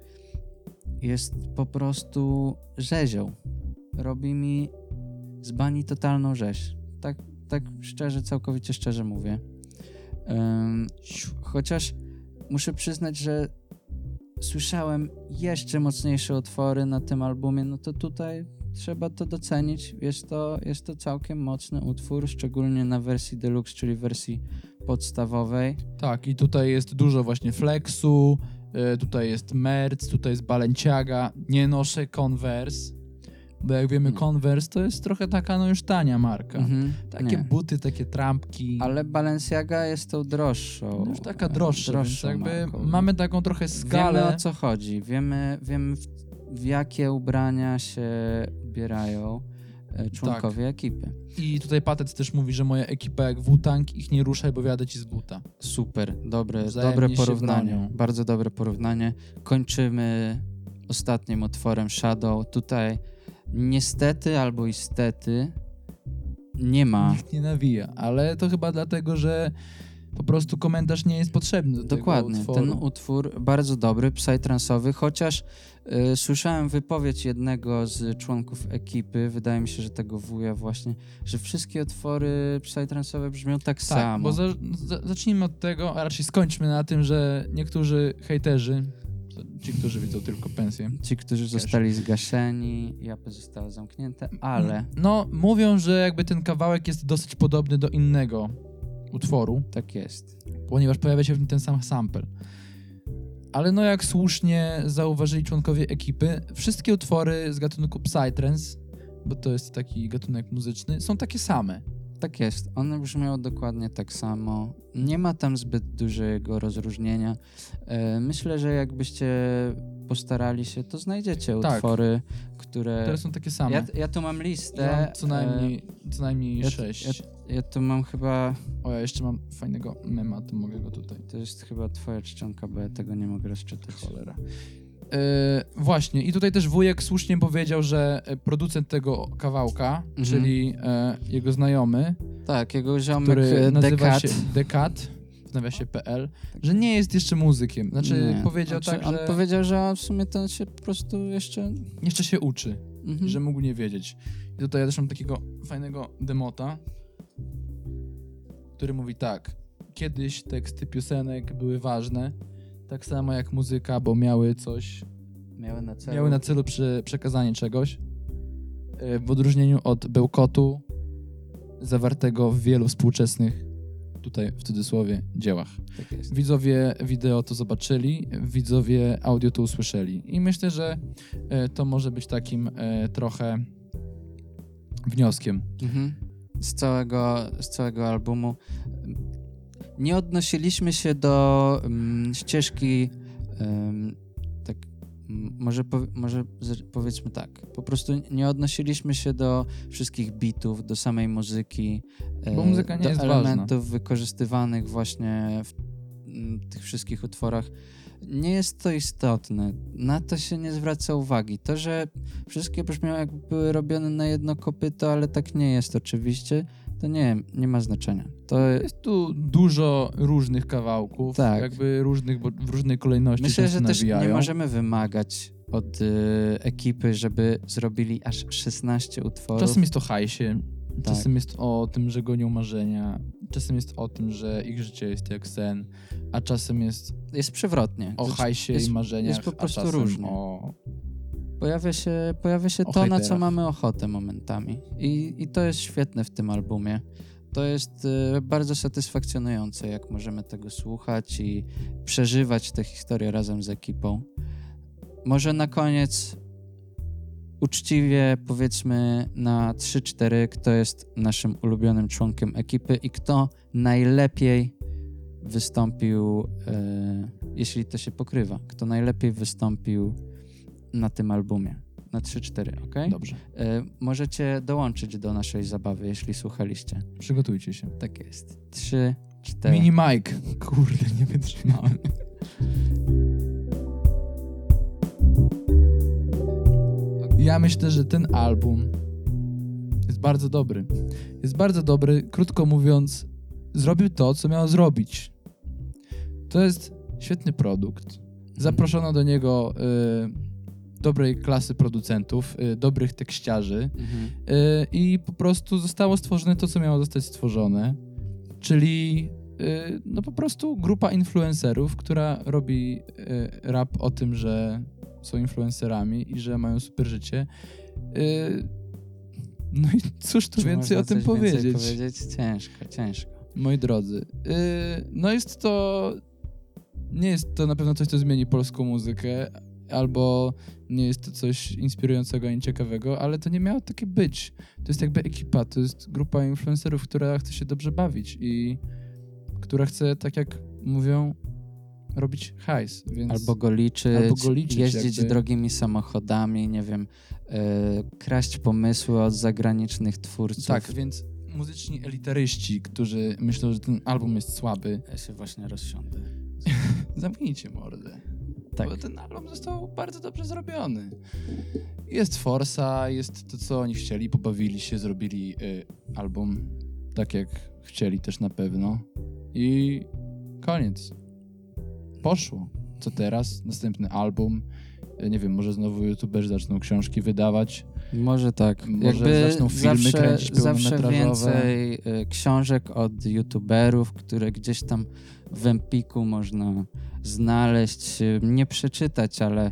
S1: jest po prostu rzezią. Robi mi z bani totalną rzeź. Tak, tak szczerze, całkowicie szczerze mówię. Ym, chociaż muszę przyznać, że słyszałem jeszcze mocniejsze otwory na tym albumie, no to tutaj trzeba to docenić. Jest to, jest to całkiem mocny utwór, szczególnie na wersji deluxe, czyli wersji podstawowej.
S2: Tak, i tutaj jest dużo właśnie flexu, y, tutaj jest merc, tutaj jest balenciaga, nie noszę Converse, bo jak wiemy
S1: Nie.
S2: Converse to jest trochę taka no już tania marka.
S1: Mhm,
S2: Takie
S1: nie.
S2: buty, takie trampki.
S1: Ale Balenciaga jest tą droższą. e,
S2: No już taka droższa, więc
S1: droższą
S2: jakby
S1: marką.
S2: mamy taką trochę
S1: Wiemy no,
S2: skalę.
S1: o co chodzi, wiemy, wiemy w, w jakie ubrania się ubierają e, członkowie ekipy.
S2: I tutaj Patec też mówi, że moja ekipa jak Wutank, ich nie ruszaj, bo wiadę ci z buta.
S1: Super, dobre,
S2: Wzajemnie
S1: dobre
S2: się
S1: porównanie.
S2: bronią.
S1: Bardzo dobre porównanie. Kończymy ostatnim utworem Shadow. Tutaj niestety albo istety nie ma.
S2: Nikt nie nawija, ale to chyba dlatego, że po prostu komentarz nie jest potrzebny. Do
S1: Dokładnie,
S2: Tego
S1: ten
S2: utworu.
S1: utwór bardzo dobry, psytransowy, chociaż y, słyszałem wypowiedź jednego z członków ekipy, wydaje mi się, że tego wuja właśnie, że wszystkie utwory psytransowe brzmią tak,
S2: tak,
S1: samo.
S2: bo za, za, zacznijmy od tego, a raczej skończmy na tym, że niektórzy hejterzy, to ci, którzy widzą tylko pensję,
S1: Ci, którzy zostali zgaszeni, japy zostały zamknięte, ale
S2: no mówią, że jakby ten kawałek jest dosyć podobny do innego utworu,
S1: tak jest.
S2: ponieważ pojawia się w nim ten sam sample. Ale no jak słusznie zauważyli członkowie ekipy, wszystkie utwory z gatunku Psytrance, bo to jest taki gatunek muzyczny, są takie same.
S1: Tak jest, one brzmią dokładnie tak samo. Nie ma tam zbyt dużego rozróżnienia. E, myślę, że jakbyście postarali się, to znajdziecie
S2: Tak.
S1: utwory, które...
S2: Teraz są takie same.
S1: E, Ja, ja tu mam
S2: Ja
S1: listę.
S2: mam co najmniej, co najmniej
S1: ja-
S2: sześć.
S1: e, Ja tu mam chyba.
S2: O, ja jeszcze mam fajnego mema, to mogę go tutaj.
S1: To jest chyba twoja czcionka, bo ja tego nie mogę rozczytać.
S2: Cholera. E, właśnie, i tutaj też wujek słusznie powiedział, że e, producent tego kawałka,
S1: Mhm.
S2: czyli e, jego znajomy,
S1: Tak, jego ziomek
S2: który
S1: e,
S2: nazywa
S1: Dekat.
S2: się Dekat, w nawiasie PL, że nie jest jeszcze muzykiem. Znaczy,
S1: Nie.
S2: powiedział
S1: Znaczy,
S2: tak,
S1: On
S2: że
S1: powiedział, że on w sumie to się po prostu jeszcze.
S2: jeszcze się uczy,
S1: Mhm.
S2: że mógł nie wiedzieć. I tutaj ja też mam takiego fajnego demota, który mówi tak. Kiedyś teksty piosenek były ważne, tak samo jak muzyka, bo miały coś
S1: Miały na celu.
S2: miały na celu prze, przekazanie czegoś e, w odróżnieniu od bełkotu zawartego w wielu współczesnych, tutaj w cudzysłowie, dziełach.
S1: Tak jest.
S2: Widzowie wideo to zobaczyli, widzowie audio to usłyszeli. I myślę, że e, to może być takim e, trochę wnioskiem.
S1: Mhm. Z, całego, z całego albumu. Nie odnosiliśmy się do mm, ścieżki. em, tak, m, może, pow- może z- powiedzmy tak. Po prostu nie odnosiliśmy się do wszystkich bitów, do samej muzyki. e,
S2: Bo muzyka nie
S1: do
S2: jest ważna.
S1: elementów wykorzystywanych właśnie w mm, tych wszystkich utworach. Nie jest to istotne. Na to się nie zwraca uwagi. To, że wszystkie brzmią jakby były robione na jedno kopyto, ale tak nie jest oczywiście, to nie, nie ma znaczenia. To
S2: Jest tu dużo różnych kawałków,
S1: Tak.
S2: jakby różnych, bo w różnej kolejności
S1: myślę,
S2: się
S1: że też nie
S2: nawijają.
S1: możemy wymagać od y, ekipy, żeby zrobili aż 16 utworów.
S2: Czasem jest o hajsie,
S1: Tak.
S2: czasem jest o tym, że gonią marzenia, czasem jest o tym, że ich życie jest jak sen, a czasem jest
S1: Jest przewrotnie.
S2: o
S1: Znaczy,
S2: hajsie
S1: jest-
S2: i marzeniach,
S1: jest po prostu
S2: a czasem
S1: różnie.
S2: o...
S1: Pojawia się, pojawia się
S2: O
S1: to, na co
S2: hejterach.
S1: mamy ochotę momentami. I, I to jest świetne w tym albumie. To jest y, bardzo satysfakcjonujące, jak możemy tego słuchać i przeżywać tę historię razem z ekipą. Może na koniec uczciwie powiedzmy na 3-4, kto jest naszym ulubionym członkiem ekipy i kto najlepiej wystąpił, e, jeśli to się pokrywa, kto najlepiej wystąpił na tym albumie. Na 3-4, ok?
S2: Dobrze,
S1: E, możecie dołączyć do naszej zabawy, jeśli słuchaliście.
S2: przygotujcie się.
S1: Tak jest. 3, 4.
S2: Mini Mike. Kurde, nie wytrzymałem. Ja myślę, że ten album jest bardzo dobry. Jest bardzo dobry, krótko mówiąc, zrobił to, co miał zrobić. To jest świetny produkt. Zaproszono do niego y, dobrej klasy producentów, y, dobrych tekściarzy.
S1: Mhm.
S2: Y, i po prostu zostało stworzone to, co miało zostać stworzone, czyli y, no po prostu grupa influencerów, która robi y, rap o tym, że są influencerami i że mają super życie. Y, No i cóż tu
S1: Czy
S2: więcej
S1: można
S2: o tym
S1: coś więcej
S2: powiedzieć,
S1: powiedzieć? Ciężko, ciężko.
S2: moi drodzy. Y, No jest to... Nie jest to na pewno coś, co zmieni polską muzykę, albo nie jest to coś inspirującego ani ciekawego, ale to nie miało takie być. To jest jakby ekipa, to jest grupa influencerów, która chce się dobrze bawić i która chce, tak jak mówią, robić hajs, więc
S1: Albo go liczyć,
S2: Albo go liczyć,
S1: jeździć
S2: jakby.
S1: drogimi samochodami, nie wiem, e, kraść pomysły od zagranicznych twórców.
S2: tak, więc muzyczni elitaryści, którzy myślą, że ten album jest słaby,
S1: Ja się właśnie rozsiądę.
S2: zamknijcie mordę.
S1: Tak.
S2: Bo ten album został bardzo dobrze zrobiony. Jest forsa, jest to, co oni chcieli, pobawili się, zrobili y, album tak, jak chcieli też na pewno. I koniec. Poszło. Co teraz? Następny album. Y, Nie wiem, może znowu youtuberzy zaczną książki wydawać.
S1: Może tak.
S2: Może
S1: Jakby
S2: zaczną filmy
S1: zawsze,
S2: kręcić
S1: Zawsze
S2: pełnometrażowe.
S1: więcej e, książek od youtuberów, które gdzieś tam w Empiku można znaleźć, e, nie przeczytać, ale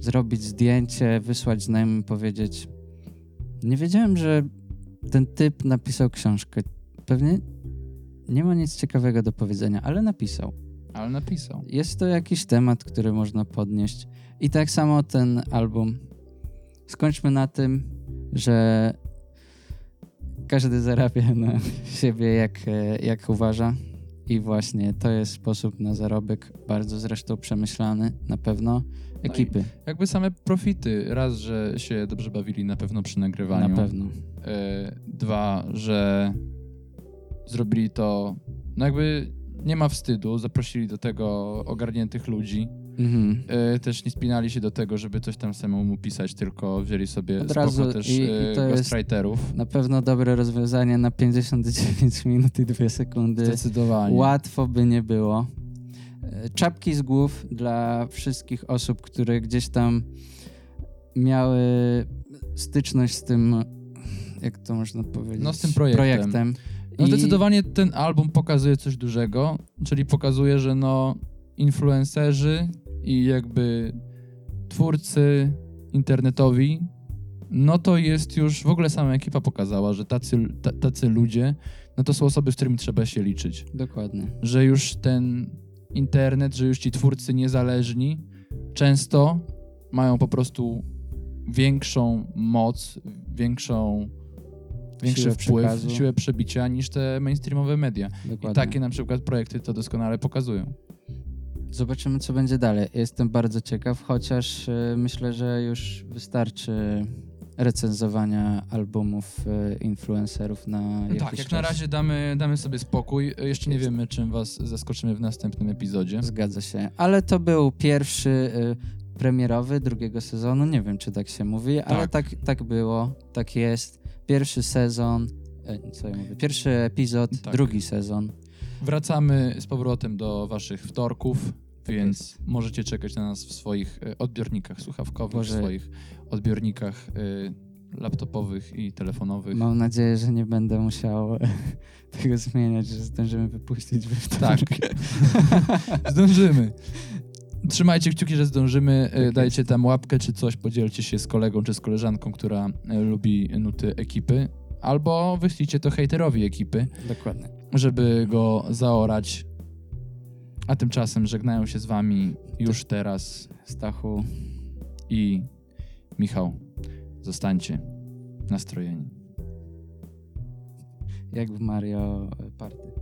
S1: zrobić zdjęcie, wysłać znajomym, powiedzieć nie wiedziałem, że ten typ napisał książkę. Pewnie nie ma nic ciekawego do powiedzenia, ale napisał.
S2: Ale napisał.
S1: Jest to jakiś temat, który można podnieść. I tak samo ten album. Skończmy na tym, że każdy zarabia na [laughs] siebie jak, e, jak uważa. I właśnie to jest sposób na zarobek, bardzo zresztą przemyślany na pewno ekipy.
S2: Jakby same profity. Raz, że się dobrze bawili na pewno przy nagrywaniu.
S1: Na pewno.
S2: E, Dwa, że zrobili to. No jakby nie ma wstydu, zaprosili do tego ogarniętych ludzi.
S1: Mhm.
S2: E, Też nie spinali się do tego, żeby coś tam samemu pisać, tylko wzięli sobie
S1: Od
S2: spoko
S1: razu
S2: też
S1: i-
S2: i,
S1: i to jest-
S2: ghostwriterów.
S1: Na pewno dobre rozwiązanie na 59 minut i 2 sekundy.
S2: Zdecydowanie.
S1: Łatwo by nie było. E, Czapki z głów dla wszystkich osób, które gdzieś tam miały styczność z tym, jak to można powiedzieć,
S2: No, z tym projektem. No
S1: I
S2: zdecydowanie ten album pokazuje coś dużego, czyli pokazuje, że no influencerzy i jakby twórcy internetowi, no to jest już, w ogóle sama ekipa pokazała, że tacy, ta, tacy ludzie, no to są osoby, z którymi trzeba się liczyć.
S1: Dokładnie.
S2: Że już ten internet, że już ci twórcy niezależni często mają po prostu większą moc, większą, większy
S1: Siłę
S2: wpływ,
S1: przekazu.
S2: siłę przebicia niż te mainstreamowe media.
S1: Dokładnie.
S2: I takie na przykład projekty to doskonale pokazują.
S1: Zobaczymy, co będzie dalej. Jestem bardzo ciekaw, chociaż e, myślę, że już wystarczy recenzowania albumów e, influencerów na jakiś
S2: tak, jak
S1: czas.
S2: na razie damy, damy sobie spokój. Jeszcze nie wiemy, czym was zaskoczymy w następnym epizodzie.
S1: Zgadza się. Ale to był pierwszy y, premierowy drugiego sezonu. Nie wiem, czy tak się mówi, ale tak, tak było, tak jest. Pierwszy sezon, y, co ja mówię, pierwszy epizod,
S2: Tak.
S1: drugi sezon.
S2: Wracamy z powrotem do waszych wtorków.
S1: Tak
S2: Więc możecie czekać na nas w swoich e, odbiornikach słuchawkowych,
S1: Boże.
S2: w swoich odbiornikach e, laptopowych i telefonowych.
S1: Mam nadzieję, że nie będę musiał e, [laughs] tego zmieniać, że zdążymy wypuścić we
S2: Tak.
S1: wtorek.
S2: [laughs] Zdążymy. Trzymajcie kciuki, że zdążymy.
S1: Tak
S2: E, Dajcie tam łapkę czy coś, podzielcie się z kolegą czy z koleżanką, która e, lubi nuty ekipy. Albo wyślijcie to hejterowi ekipy,
S1: [laughs] Dokładnie.
S2: żeby go zaorać. A tymczasem żegnają się z wami już teraz
S1: Stachu,
S2: i Michał. Zostańcie nastrojeni.
S1: jak w Mario Party.